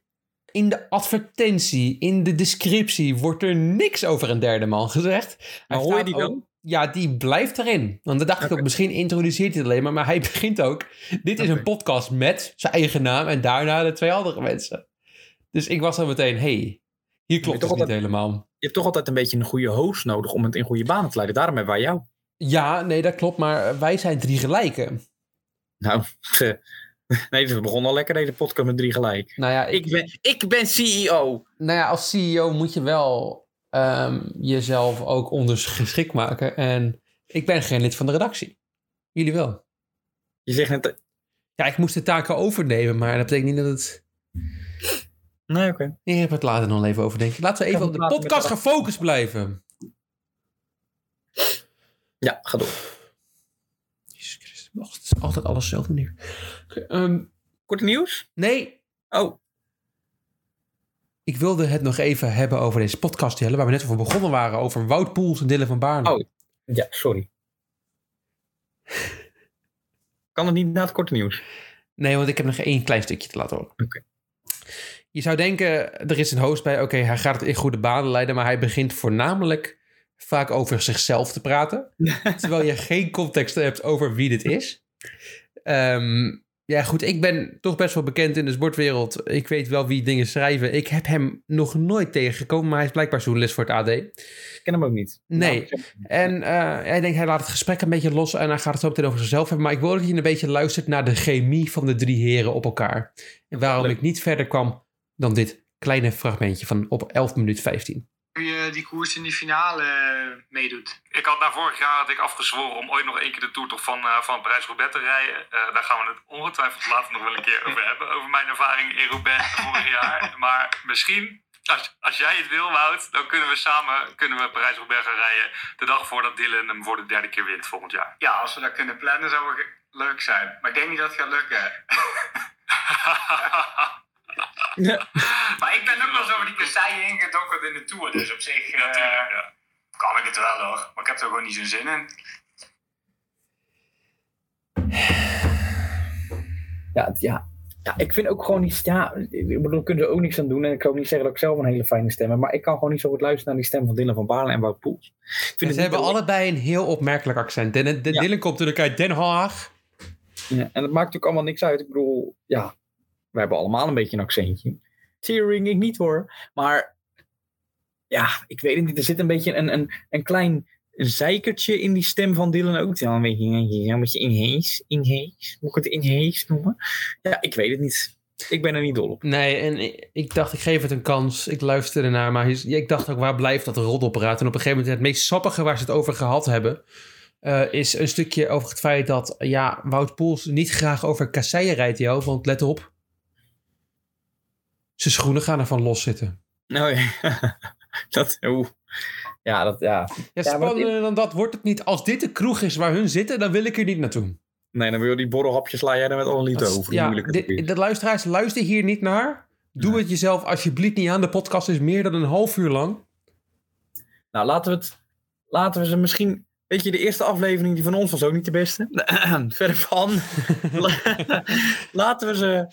in de advertentie, in de descriptie wordt er niks over een derde man gezegd. Hij
hoor je
staat
die
ook-
dan?
Ja, die blijft erin. Want dan dacht ik ook, misschien introduceert hij het alleen maar, maar hij begint ook. Dit is een podcast met zijn eigen naam en daarna de twee andere mensen. Dus ik was al meteen, hey, hier klopt
toch
het niet
altijd-
helemaal.
Je hebt toch altijd een beetje een goede host nodig om het in goede banen te leiden. Daarom hebben wij jou.
Ja, nee, dat klopt, maar wij zijn drie gelijken.
Nou, nee, het begon al lekker deze podcast met drie gelijk.
Nou ja,
Ik ben, ik ben E CEO.
nou ja, als CEO moet je wel ehm, jezelf ook ondergeschikt maken. En ik ben geen lid van de redactie. Jullie wel.
Je zegt net... eh,
Ja, ik moest de taken overnemen, maar dat betekent niet dat het...
Nee, oké.
Ik heb het later nog even over, denk ik. Laten we even
Kan
op de
het later met
podcast
de-
gefocust blijven.
Ja, ga door.
Jezus Christus, och, het is altijd alles zelf neer. Oké, ehm,
Kort nieuws?
nee,
Oh,
ik wilde het nog even hebben over deze podcast, Jelle, waar we net over begonnen waren, over Wout Poels en Dylan van Baarn.
Oh. ja, sorry. Kan het niet na het korte nieuws?
Nee, want ik heb nog één klein stukje te laten horen.
Oké.
Je zou denken, er is een host bij, oké, hij gaat het in goede banen leiden, maar hij begint voornamelijk vaak over zichzelf te praten, terwijl je geen context hebt over wie dit is. Ehm, ja, goed, ik ben toch best wel bekend in de sportwereld. Ik weet wel wie dingen schrijven. Ik heb hem nog nooit tegengekomen, maar hij is blijkbaar journalist voor het AD.
Ik ken hem ook niet.
Nee.
Nou,
En eh, hij denkt, hij laat het gesprek een beetje los en hij gaat het zo meteen over zichzelf hebben. Maar ik wil dat je een beetje luistert naar de chemie van de drie heren op elkaar. En waarom ik niet verder kwam dan dit kleine fragmentje van op 11 minuut 15.
hoe je Eh, die koers in die finale eh, meedoet.
Ik had na vorig jaar had ik afgezworen om ooit nog één keer de toertocht van, eh van Parijs-Roubaix te rijden. Eh, daar gaan we het ongetwijfeld later nog wel een keer over hebben. Over mijn ervaring in Roubaix vorig jaar. Maar misschien, als, als jij het wil Wout, dan kunnen we samen kunnen we Parijs-Roubaix gaan rijden. De dag voordat Dylan hem voor de derde keer wint volgend jaar.
Ja, als we dat kunnen plannen zou het leuk zijn. Maar ik denk niet dat het gaat lukken. maar ik ben ook wel zo over die kasseien ingedokkeld in de Tour. Dus op zich eh, kan ik het wel hoor. Maar ik heb er gewoon niet zo'n zin in.
Ja, ja. ja, ik vind ook gewoon niet. Ja, ik bedoel, we kunnen er ook niks aan doen. En ik kan ook niet zeggen dat ik zelf een hele fijne stem heb. Maar ik kan gewoon niet zo goed luisteren naar die stem van Dylan van Baarle en Wout Poels. Ik vind
En
het
ze
niet
hebben
dat-
allebei een heel opmerkelijk accent. En de, de
Ja.
Dylan komt natuurlijk uit Den Haag.
Ja, en dat maakt ook allemaal niks uit. Ik bedoel, ja, we hebben allemaal een beetje een accentje. Tearing ik niet hoor. Maar ja, ik weet het niet. Er zit een beetje een, een, een klein zeikertje in die stem van Dylan ook. Ja, een beetje, een beetje inhees. Inhees. Moet ik het inhees noemen? Ja, ik weet het niet. Ik ben er niet dol op.
Nee, en ik, ik dacht, ik geef het een kans. Ik luisterde naar, maar hij- ik dacht ook, waar blijft dat roddelpraat? En op een gegeven moment, het meest sappige waar ze het over gehad hebben, eh, is een stukje over het feit dat, ja, Wout Poels niet graag over kasseien rijdt, joh. Want let op, zijn schoenen gaan ervan los zitten.
Nou ja, dat, oeh. Ja, dat, ja.
Ja,
Ja, maar dat-
spannender dan dat wordt het niet. Als dit de kroeg is waar hun zitten, dan wil ik er niet naartoe.
Nee, dan wil je die borrelhapjes sla jij er met alle liefde
Dat-
over.
ja,
Ja,
dit- de luisteraars, luister hier niet naar. Doe het jezelf alsjeblieft niet aan. De podcast is meer dan een half uur lang.
Nou, laten we het. Laten we ze misschien. Weet je, de eerste aflevering die van ons was ook niet de beste. Verder van. laten we ze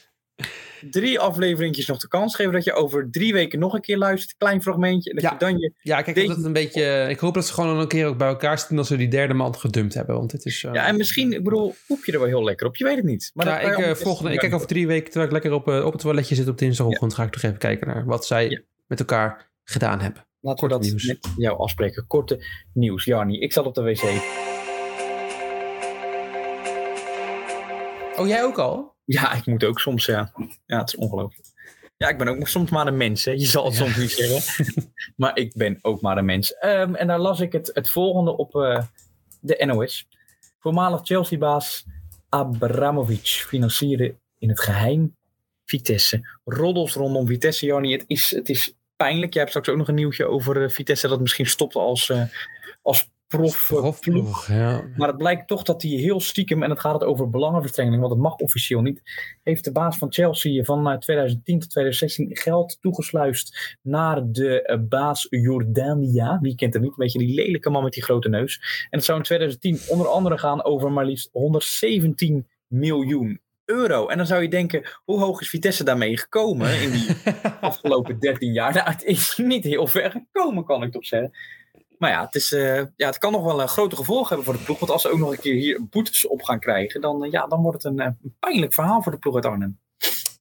drie afleveringjes nog de kans geven. Dat je over drie weken nog een keer luistert. Klein fragmentje. en Dat
Ja.
je dan je.
Ja, kijk,
Denk-
dat het een beetje. Ik hoop dat ze gewoon een keer ook bij elkaar zitten als ze die derde man gedumpt hebben. Want dit is. eh,
Ja, en misschien, ik bedoel, oep je er wel heel lekker op. Je weet het niet. Maar
ja,
dat kan je
ik, eh,
allemaal
volgende, ik
testen.
kijk over drie weken, terwijl ik lekker op, eh, op het toiletje zit op dinsdagochtend, ga ik toch even kijken naar wat zij
Ja.
met elkaar gedaan hebben.
Laten we
Kort
dat
nieuws.
met jou afspreken. Korte nieuws. Jarni, ik zat op de wc.
Oh, jij ook al?
Ja, ik moet ook soms, ja. Ja, het is ongelooflijk. Ja, ik ben ook soms maar een mens, hè. Je zal het soms niet zeggen. maar ik ben ook maar een mens. Ehm, en daar las ik het, het volgende op eh, de NOS. Voormalig Chelsea-baas Abramovic financierde in het geheim Vitesse. Roddels rondom Vitesse, Joni. Het is, het is pijnlijk. Jij hebt straks ook nog een nieuwtje over eh, Vitesse dat misschien stopt als, eh, als prof. eh,
eh, Profploeg, ja.
Maar het blijkt toch dat hij heel stiekem, en het gaat het over belangenverstrengeling, want het mag officieel niet, heeft de baas van Chelsea van eh, 2010 tot 2016 geld toegesluist naar de eh, baas Jordania. Wie kent hem niet? Een beetje die lelijke man met die grote neus. En het zou in 2010 onder andere gaan over maar liefst 117 miljoen euro. En dan zou je denken, hoe hoog is Vitesse daarmee gekomen in die afgelopen 13 jaar? Nou, het is niet heel ver gekomen, kan ik toch zeggen. Maar ja, het, is, eh, ja, het kan nog wel een grote gevolgen hebben voor de ploeg. Want als ze ook nog een keer hier boetes op gaan krijgen, dan, eh, ja, dan wordt het een eh, pijnlijk verhaal voor de ploeg uit Arnhem.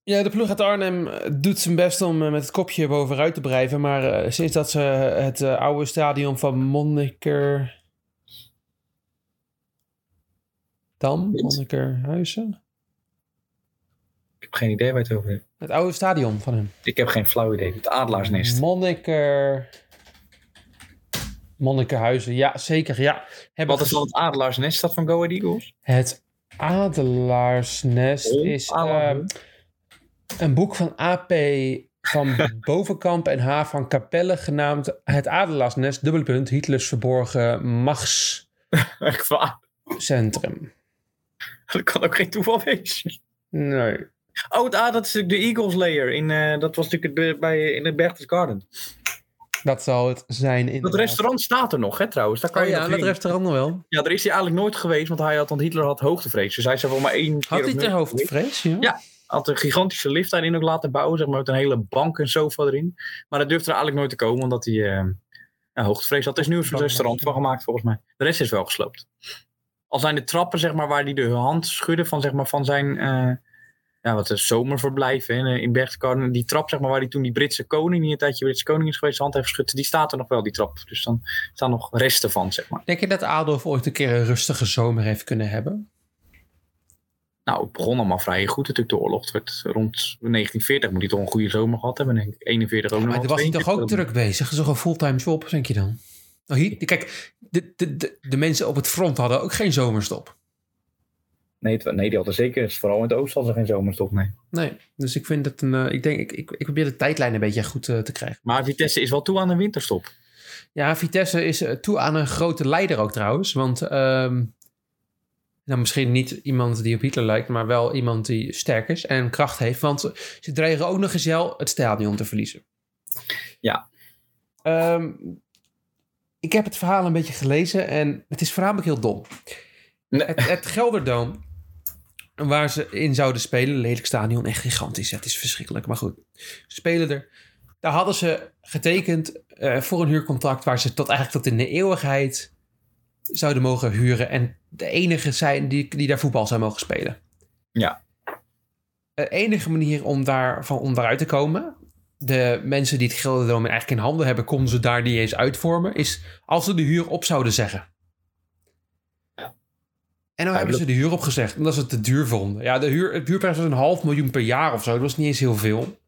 Ja, de ploeg uit Arnhem eh, doet zijn best om eh, met het kopje bovenuit te blijven. Maar eh, sinds dat ze het eh, oude stadion van Monniker... Dam? Monnikerhuizen?
Ik heb geen idee waar je het over hebt.
Het oude stadion van hem.
Ik heb geen flauw idee. Het Adelaarsnest.
Monniker... Monnikerhuizen, ja, zeker, ja. Hebben
Wat is
ges-
dan het Adelaarsnest dat van Go Ahead Eagles?
Het Adelaarsnest is ehm, een boek van AP van Bovenkamp en H. van Capelle genaamd Het Adelaarsnest, dubbele punt, Hitlers verborgen
Echt waar?
machtscentrum.
Dat kan ook geen toeval wezen.
Nee.
Oh, het, ah, dat is natuurlijk de Eagles layer. In, eh, dat was natuurlijk het, be- bij, in het Berchtesgaden. Garden.
Dat zal het zijn in
Dat restaurant staat er nog, hè, trouwens. Daar kan
Oh
je
ja,
nog
dat
heen.
restaurant nog wel.
Ja, daar is hij eigenlijk nooit geweest, want, hij had, want Hitler had hoogtevrees. Dus hij zou wel maar één keer...
Had hij
op
ter
nul
hoogtevrees? Ja.
ja, had een gigantische lift daarin ook laten bouwen, zeg maar, met een hele bank en sofa erin. Maar dat durfde er eigenlijk nooit te komen, omdat hij eh, ja, hoogtevrees had. Er is nu een soort restaurant van gemaakt, volgens mij. De rest is wel gesloopt. Al zijn de trappen, zeg maar, waar hij de hand schudde van, zeg maar, van zijn... eh, ja, wat een zomerverblijf hè, in Berchtesgaden. Die trap, zeg maar, waar hij toen die Britse koning, die een tijdje Britse koning is geweest, de hand heeft geschud, die staat er nog wel, die trap. Dus dan staan nog resten van, zeg maar.
Denk je dat Adolf ooit een keer een rustige zomer heeft kunnen hebben?
Nou, het begon allemaal vrij goed natuurlijk, de oorlog. Het werd rond 1940 moet hij toch een goede zomer gehad hebben. denk ik. 41 ook nog.
Maar
wel,
dan was hij toch ook
42
druk bezig? Dat is toch een fulltime job, denk je dan? Nou, hier, kijk, de, de, de, de mensen op het front hadden ook geen zomerstop.
Nee, het wa- nee, die hadden zeker, vooral in het oosten hadden ze geen zomerstop, nee.
Nee, dus ik vind dat een. eh, ik denk, ik, ik, ik probeer de tijdlijn een beetje goed eh, te krijgen.
Maar Vitesse is wel toe aan een winterstop.
Ja, Vitesse is eh, toe aan een grote leider ook trouwens. Want, ehm, nou, misschien niet iemand die op Hitler lijkt, maar wel iemand die sterk is en kracht heeft. Want ze dreigen ook nog eens wel het stadion te verliezen.
Ja.
Ehm, ik heb het verhaal een beetje gelezen en het is voornamelijk heel dom. Het, het Gelderdoom, waar ze in zouden spelen, lelijk stadion, echt gigantisch. Het is verschrikkelijk, maar goed. Ze spelen er. Daar hadden ze getekend eh, voor een huurcontract waar ze tot eigenlijk tot in de eeuwigheid zouden mogen huren. En de enige zijn die, die daar voetbal zou mogen spelen.
Ja.
De enige manier om, daar, van, om daaruit te komen. De mensen die het Gelderdoom eigenlijk in handen hebben, konden ze daar niet eens uitvormen. Is als ze de huur op zouden zeggen. En dan hebben ze de huur opgezegd, omdat ze het te duur vonden. Ja, de huur, het huurprijs was een half miljoen per jaar of zo. Dat was niet eens heel veel.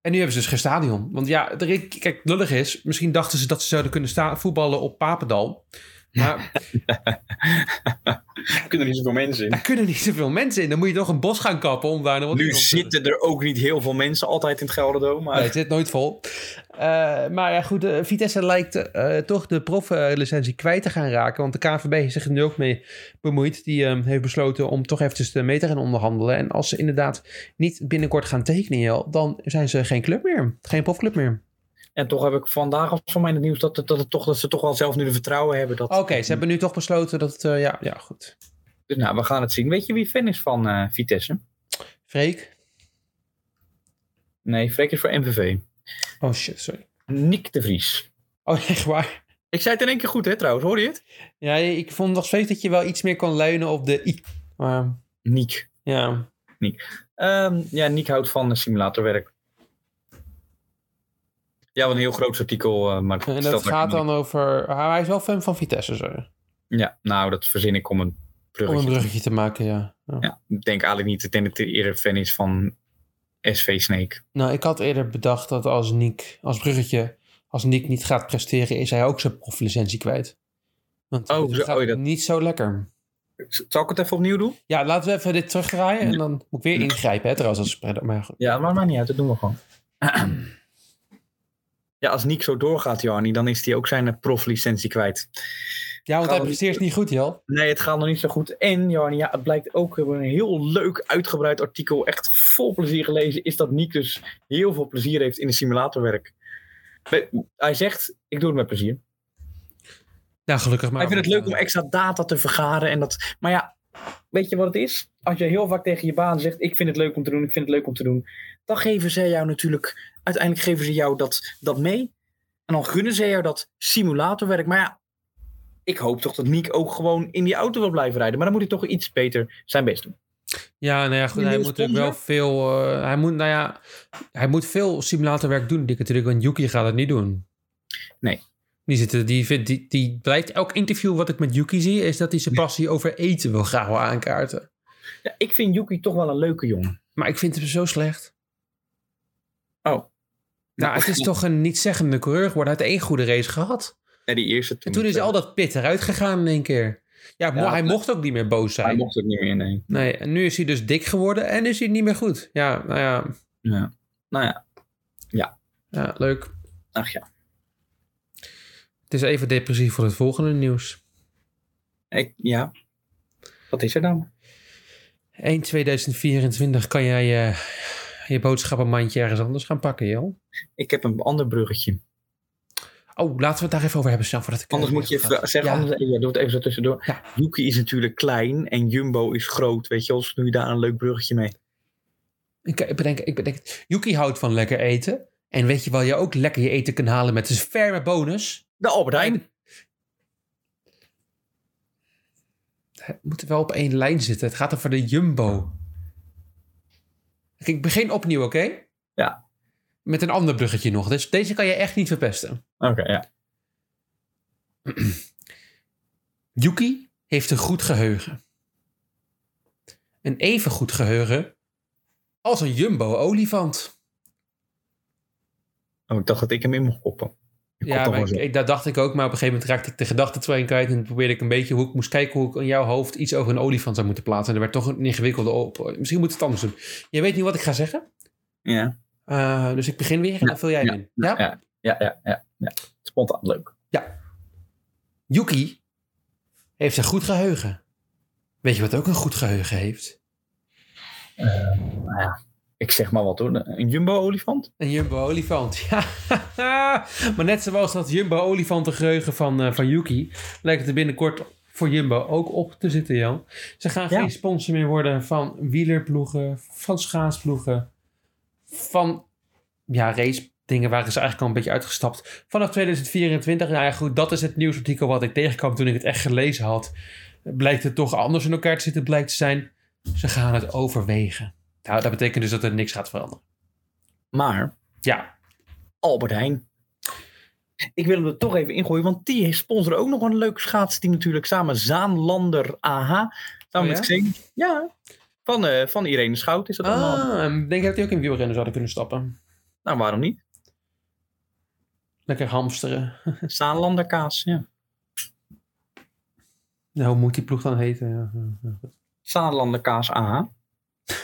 En nu hebben ze dus geen stadion. Want ja, er is- kijk, lullig is, misschien dachten ze dat ze zouden kunnen sta- voetballen op Papendal. Maar
Er kunnen niet zoveel mensen in.
daar kunnen niet zoveel mensen in. Dan moet je toch een bos gaan kappen om daar nog wat in
Nu
op te
zitten er ook niet heel veel mensen altijd in het Gelderdoom. Maar...
Nee, het zit nooit vol. Eh, maar ja, goed, eh, Vitesse lijkt eh, toch de proflicentie kwijt te gaan raken. Want de KNVB heeft zich er nu ook mee bemoeid. Die eh, heeft besloten om toch eventjes mee te gaan onderhandelen. En als ze inderdaad niet binnenkort gaan tekenen, Jel, dan zijn ze geen club meer. Geen profclub meer.
En toch heb ik vandaag al voor mij in het nieuws dat, het- dat, het toch, dat ze toch wel zelf nu de vertrouwen hebben. Dat,
Oké, ze hebben nu toch besloten dat... het, eh, ja, ja, goed.
Dus nou, we gaan het zien. Weet je wie fan is van eh, Vitesse?
Freek?
Nee, Freek is voor MVV.
Oh shit, sorry.
Nick de Vries.
Oh, echt waar?
Ik zei het in één keer goed, hè, trouwens. Hoor je het?
Ja, ik vond nog steeds dat je wel iets meer kon leunen op de I. Maar,
Niek.
ja.
Ehm, ja, Niek houdt van eh, simulatorwerk. Ja, wat een heel groot artikel. eh, maar
En
stelt
dat
daar
gaat
helemaal
dan over... Ah, Hij is wel fan van Vitesse, sorry.
niet- Ja, nou, dat verzin ik om een
Om
bruggetje.
een bruggetje te maken, ja. ja.
Ja, ik denk eigenlijk niet. Ik denk dat hij eerder fan is van SV Snake.
Nou, ik had eerder bedacht dat als Niek, als bruggetje, als Niek niet gaat presteren, is hij ook zijn proflicentie kwijt. Want
Oh,
het
zo-
gaat
oh, dat-
niet zo lekker.
Z- Zal ik het even opnieuw doen?
Ja, laten we even dit terugdraaien en dan moet ik weer ingrijpen, hè, trouwens. Als, maar goed.
Ja, maar maakt niet uit, dat doen we gewoon. ja, als Nick zo doorgaat, Jarny, dan is hij ook zijn eh, proflicentie kwijt.
Ja, want hij presteert niet goed, Jel.
Nee, het gaat nog niet zo goed. En Jarny, ja, het blijkt ook we hebben een heel leuk uitgebreid artikel, echt vol plezier gelezen, is dat Nick dus heel veel plezier heeft in de simulatorwerk. Be- Hij zegt, ik doe het met plezier.
Nou, gelukkig maar.
Hij vindt het leuk om extra data te vergaren. En dat, maar ja, weet je wat het is? Als je heel vaak tegen je baan zegt: Ik vind het leuk om te doen, ik vind het leuk om te doen. Dan geven zij jou natuurlijk, uiteindelijk geven ze jou dat, dat mee. En dan gunnen ze jou dat simulatorwerk. Maar ja, ik hoop toch dat Nick ook gewoon in die auto wil blijven rijden. Maar dan moet hij toch iets beter zijn best doen.
Ja, nou ja, goed,
Die
hij moet
nieuwe
natuurlijk wel
sponsor?
veel... eh, hij, moet, nou ja, hij moet veel simulatorwerk doen, Dick natuurlijk. Want Yuki gaat het niet doen.
Nee.
Die, zit, die, vindt- die, die blijkt... Elk interview wat ik met Yuki zie... is dat hij zijn passie over eten wil graag wel aankaarten.
Ja, ik vind Yuki toch wel een leuke jongen.
Maar ik vind hem zo slecht.
Oh.
Nou, het is toch een niet-zeggende coureur geworden. Hij heeft één goede race gehad.
En die eerste
En toen is al dat pit eruit gegaan in één keer. Ja, mo-
eh, Ja,
hij
dat-
mocht ook niet meer boos zijn.
Hij mocht het niet meer nee.
Nee, en nu is hij dus dik geworden en is hij niet meer goed. Ja, nou ja.
Ja. Nou ja. Ja.
Ja, leuk.
Ach ja.
Het is even depressief voor het volgende nieuws.
Ik, ja. Wat is er dan?
1 2024 kan jij eh, je boodschappenmandje ergens anders gaan pakken, joh.
Ik heb een ander bruggetje.
Oh, laten we het daar even over hebben, snel voordat ik... eh,
Anders moet je even zeggen,
Ja.
anders, ja, doe het even zo tussendoor. Yuki is natuurlijk klein en Jumbo is groot, weet je wel. Dus doe je daar een leuk bruggetje mee.
Ik, ik bedenk, ik bedenk... Yuki houdt van lekker eten. En weet je wel, je ook lekker je eten kan halen met een ferme bonus?
De Albert Heijn.
Het moet wel op één lijn zitten. Het gaat over de Jumbo. Kijk, Ik begin opnieuw, oké?
Ja.
Met een ander bruggetje nog. Dus deze kan je echt niet verpesten.
Oké, ja.
Yuki heeft een goed geheugen. Een even goed geheugen als een Jumbo-olifant.
Oh, ik dacht dat ik hem in mocht koppen.
Ja,
toch
maar
wel
ik, ik- dat dacht ik ook. Maar op een gegeven moment raakte ik de gedachtentrein kwijt. En probeerde ik een beetje hoe ik moest kijken hoe ik in jouw hoofd iets over een olifant zou moeten plaatsen. En er werd toch een ingewikkelde op. Misschien moet ik het anders doen. Je weet niet wat ik ga zeggen.
Ja.
Eh, dus ik begin weer en dan vul jij
ja,
in.
Ja, ja, ja, ja, ja, ja. Spontaan, leuk.
Ja. Yuki heeft een goed geheugen. Weet je wat ook een goed geheugen heeft?
Nou ja, ik zeg maar wat hoor. Een Jumbo-olifant?
Een Jumbo-olifant. Ja. maar net zoals dat Jumbo-olifantengeheugen van, eh, van Yuki... lijkt het er binnenkort voor Jumbo ook op te zitten, Jan. Ze gaan geen sponsor meer worden van wielerploegen... van schaatsploegen... van ja, race dingen waren ze eigenlijk al een beetje uitgestapt. Vanaf 2024, nou ja goed, dat is het nieuwsartikel wat ik tegenkwam toen ik het echt gelezen had. Blijkt het toch anders in elkaar te zitten, blijkt te zijn. Ze gaan het overwegen. Nou, dat betekent dus dat er niks gaat veranderen.
Maar
Ja,
Albert Heijn. Ik wil hem er toch even ingooien, want die sponsoren ook nog een leuk schaatsteam natuurlijk. Samen Zaanlander AH. Samen
Oh ja?
met Xen. Ja. Van, eh, van Irene Schout is dat allemaal.
Ah, ik denk dat die ook in wielrennen zouden kunnen stappen.
Nou, waarom niet?
Lekker hamsteren.
Zaanlander kaas, ja.
Nou, hoe moet die ploeg dan heten? Ja, ja, ja.
Zaanlander kaas AH.
Dat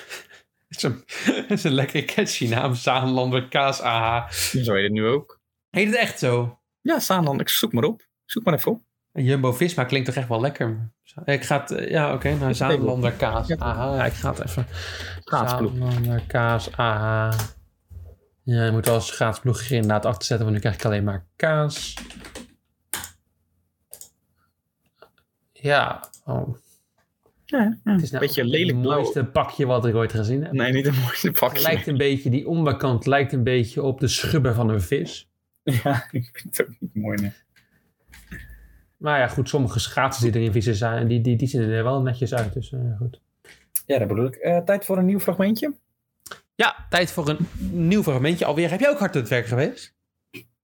is een, dat is een lekkere catchy naam. Zaanlander Kaas AH.
Zo heet het nu ook.
Heet het echt zo?
Ja, Zaanland. Ik zoek maar op. Zoek maar even op.
Jumbo-Visma klinkt toch echt wel lekker? Ik ga het... eh, Ja, oké. nou, Zaanlander Kaas AH. Ja, ik ga het even...
Schaatsploeg.
Zaanlander eh, Kaas AH. Ja, je moet wel een schaatsploeg er inderdaad achter zetten, want nu krijg ik alleen maar kaas. Ja, oh.
Ja, ja.
Het is nou
beetje
ook
lelijk
het
blauw.
mooiste pakje wat ik ooit gezien heb.
Nee, niet een mooiste
Het
pakje.
lijkt een beetje, die onderkant lijkt een beetje op de schubber van een vis.
Ja, ik vind het ook niet mooi. Nee.
Maar ja, goed, sommige schaatsen die erin vissen zijn, en die, die, die zien er wel netjes uit. Dus eh, goed.
Ja, dat bedoel ik. Eh, tijd voor een nieuw fragmentje.
Ja, tijd voor een nieuw fragmentje. Alweer, heb jij ook hard aan het werk geweest?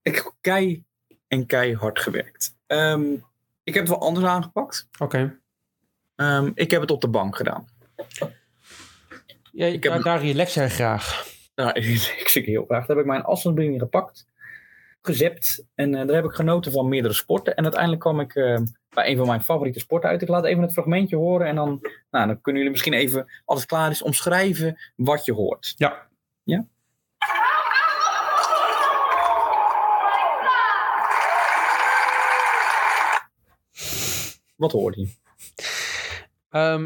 Ik heb kei en keihard gewerkt. Ehm, ik heb het wel anders aangepakt.
Oké.
Ehm, ik heb het op de bank gedaan.
Ja,
Ik heb
daar,
een-
daar relax jij graag.
Nou, ik zit heel graag. Daar heb ik mijn afstandsbediening gepakt, gezept. En eh, daar heb ik genoten van meerdere sporten. En uiteindelijk kwam ik eh, bij een van mijn favoriete sporten uit. Ik laat even het fragmentje horen en dan, nou, dan kunnen jullie misschien even, als het klaar is, omschrijven wat je hoort.
Ja.
Ja? Wat hoorde je?
Ehm,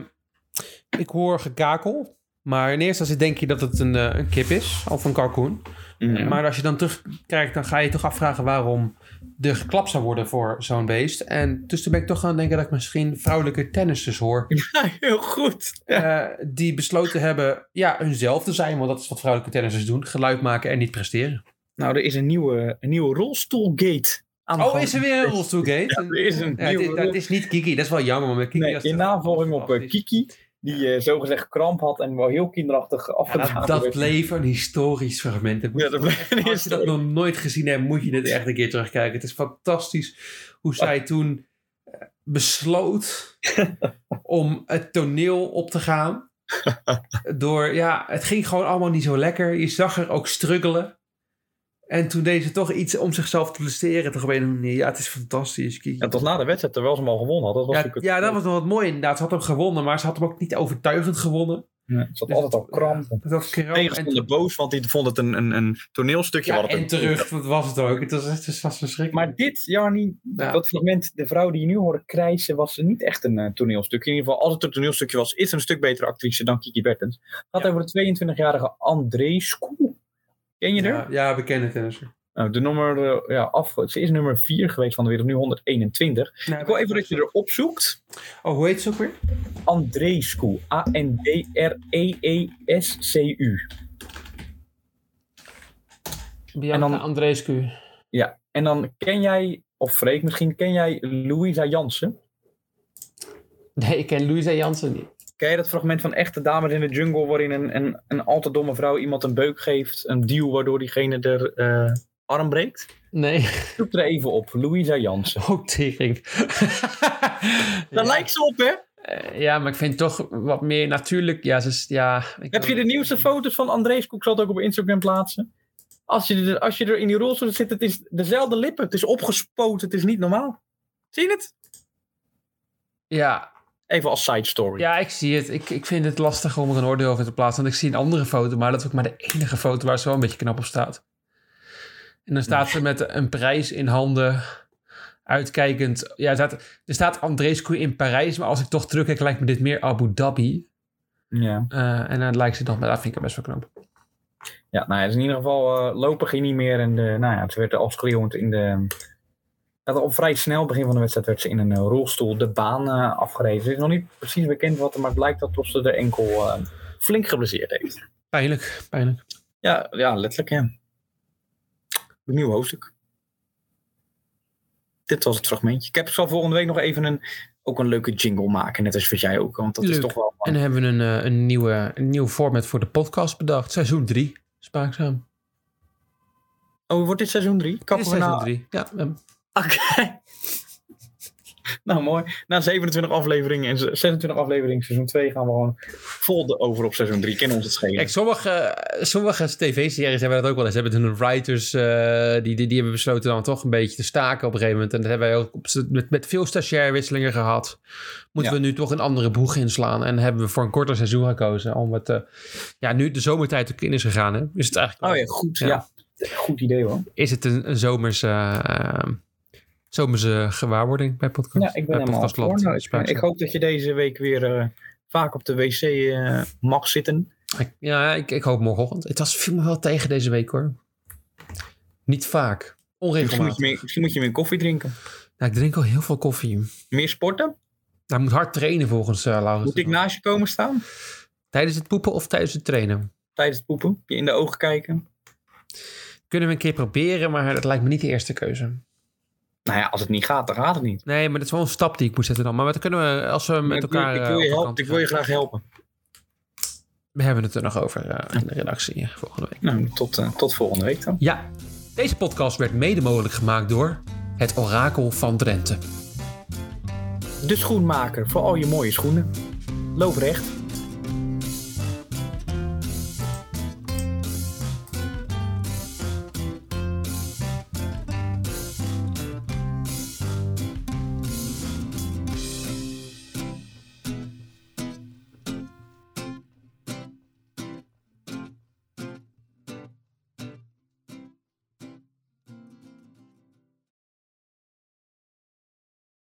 ik hoor gekakel. Maar in eerste instantie denk je dat het een, eh, een kip is. Of een kalkoen.
Ja.
Maar als je dan terugkijkt, dan ga je je toch afvragen waarom er geklapt zou worden voor zo'n beest. En dus toen ben ik toch gaan denken dat ik misschien vrouwelijke tennissers hoor. eh,
heel goed.
die besloten hebben ja, hunzelf te zijn. Want dat is wat vrouwelijke tennissers doen. Geluid maken en niet presteren.
Nou, er is een nieuwe, een nieuwe rolstoelgate aan de
Oh,
gang.
is er weer een rolstoelgate?
Ja, er is een
Ja, het, is,
nieuwe-
dat is niet Kiki, dat is wel jammer. Maar met Kiki
Nee,
als
in navolging op eh, Kiki, die eh, zogezegd kramp had en wel heel kinderachtig afgedaan
dat, dat
werd.
bleef een historisch fragment. Dat moet je toch echt- als je dat nog nooit gezien hebt, moet je dit echt een keer terugkijken. Het is fantastisch
Oh.
hoe zij toen eh, besloot om het toneel op te gaan. Door, ja, het ging gewoon allemaal niet zo lekker. Je zag er ook struggelen. En toen deed ze toch iets om zichzelf te presteren. Toch op een of andere manier. Ja, het is fantastisch. Kiki.
Ja, tot na de wedstrijd, terwijl ze hem al gewonnen had. Dat was
Ja,
natuurlijk
ja, dat was nog wat mooi inderdaad. Ze had hem gewonnen, maar ze had hem ook niet overtuigend gewonnen.
Ja, ze had altijd al kramp.
Dus Dat kramp.
Tegenstander boos, want die vond het een, een, een toneelstukje.
Ja,
wat het
en
een-
terug, dat was het ook. Het was, het was, verschrikkelijk.
Maar dit, Jarni, dat fragment, de vrouw die je nu hoorde krijsen, was niet echt een eh, toneelstukje. In ieder geval, als het een toneelstukje was, is ze een stuk betere actrice dan Kiki Bertens. Het gaat over de 22-jarige André Schoel. Ken je
Ja,
haar?
ja, bekende tennisser.
Nou, de nummer, eh, ja, af, ze is nummer 4 geweest van de wereld, nu 121. Ik wil even dat je erop zoekt.
Oh, hoe heet ze ook weer?
Andreescu. E A-N-D-R-E-E-S-C-U.
En dan Andreescu.
Ja, en dan ken jij, of Freek misschien, ken jij Louisa Jansen?
Nee, ik ken Louisa Jansen niet.
Ken je dat fragment van Echte Dames in de Jungle, waarin een, een, een al te domme vrouw iemand een beuk geeft, een duw waardoor diegene de arm breekt?
Nee.
Zoek er even op, Louisa Jansen.
Oh, tering.
Daar lijkt ze op, hè?
ja, maar ik vind toch wat meer natuurlijk. Ja, ze is, ja, ik-
Heb je de nieuwste foto's van Andrees Koek? Ik zal het ook op Instagram plaatsen. Als je er, als je er in die rolstoel zit, het is dezelfde lippen. Het is opgespoten. Het is niet normaal. Zie je het?
ja.
Even als side story.
Ja, ik zie het. Ik, ik vind het lastig om er een oordeel over te plaatsen. Want ik zie een andere foto, maar dat is ook maar de enige foto waar ze wel een beetje knap op staat. En dan staat ze met een prijs in handen. Uitkijkend. Ja, er staat, er staat Andreescu in Parijs. Maar als ik toch terugkijk, lijkt me dit meer Abu Dhabi.
Ja.
Eh, en dan lijkt ze nog, maar dat vind ik best wel knap.
Ja, nou ja, dus in ieder geval eh lopen ging niet meer. En de, nou ja, ze werd al schreeuwend in de... Dat al vrij snel begin van de wedstrijd werd ze in een eh, rolstoel de baan eh, afgereden. Het is nog niet precies bekend wat er, maar het blijkt dat Tosse de enkel eh, flink geblesseerd heeft.
Pijnlijk, pijnlijk.
Ja, ja letterlijk ja. Een nieuw hoofdstuk. Dit was het fragmentje. Ik heb, zal volgende week nog even een, ook een leuke jingle maken. Net als wat jij ook. Want dat is
Leuk.
toch wel...
En dan hebben we een, eh, een, nieuwe, een nieuw format voor de podcast bedacht. Seizoen 3. Spaakzaam.
Oh, wordt dit seizoen 3?
Dit is seizoen 3. Ja, ehm,
Nou, mooi. Na 27 afleveringen en 26 afleveringen seizoen 2 gaan we gewoon vol de over op seizoen 3. Kennen ons het schelen.
Kijk, sommige, eh, sommige tv-series hebben dat ook wel eens. Hebben hun writers, eh, die, die, die hebben besloten dan toch een beetje te staken op een gegeven moment. En dat hebben wij ook op z'n- met, met veel stagiairwisselingen gehad. Moeten we nu toch een andere boeg inslaan. En hebben we voor een korter seizoen gekozen. Omdat eh, ja, nu de zomertijd ook in is gegaan. Hè, is het eigenlijk
Oh ja, goed. Ja. Goed idee hoor.
Is het een, een zomerse, eh, zomerse gewaarwording bij podcast?
Ja, ik ben
bij
helemaal
podcastland.
voor. Nou, ik, ben-
Spraakzaam.
ik hoop dat je deze week weer eh, vaak op de wc eh, mag zitten.
Ik- ja, ik, ik hoop morgenochtend. Het was, viel me wel tegen deze week hoor. Niet vaak.
Misschien moet,
Onregelmatig.
je meer, misschien moet je meer koffie drinken.
Nou, ik drink al heel veel koffie.
Meer sporten?
Hij moet hard trainen volgens eh Laurens.
Moet ik nou- naast je komen staan?
Tijdens het poepen of tijdens het trainen?
Tijdens het poepen? Je in de ogen kijken?
Kunnen we een keer proberen, maar dat lijkt me niet de eerste keuze.
Nou ja, als het niet gaat, dan gaat het niet.
Nee, maar dat is wel een stap die ik moet zetten dan. Maar wat kunnen we als we met
ik wil,
elkaar...
ik
eh,
wil je
op de
helpen,
kant
ik wil je
gaan?
graag helpen.
We hebben het er nog over eh, in de redactie volgende week.
Nou, tot, eh, tot volgende week dan.
Ja, deze podcast werd mede mogelijk gemaakt door... Het Orakel van Drenthe.
De schoenmaker voor al je mooie schoenen. Loop recht.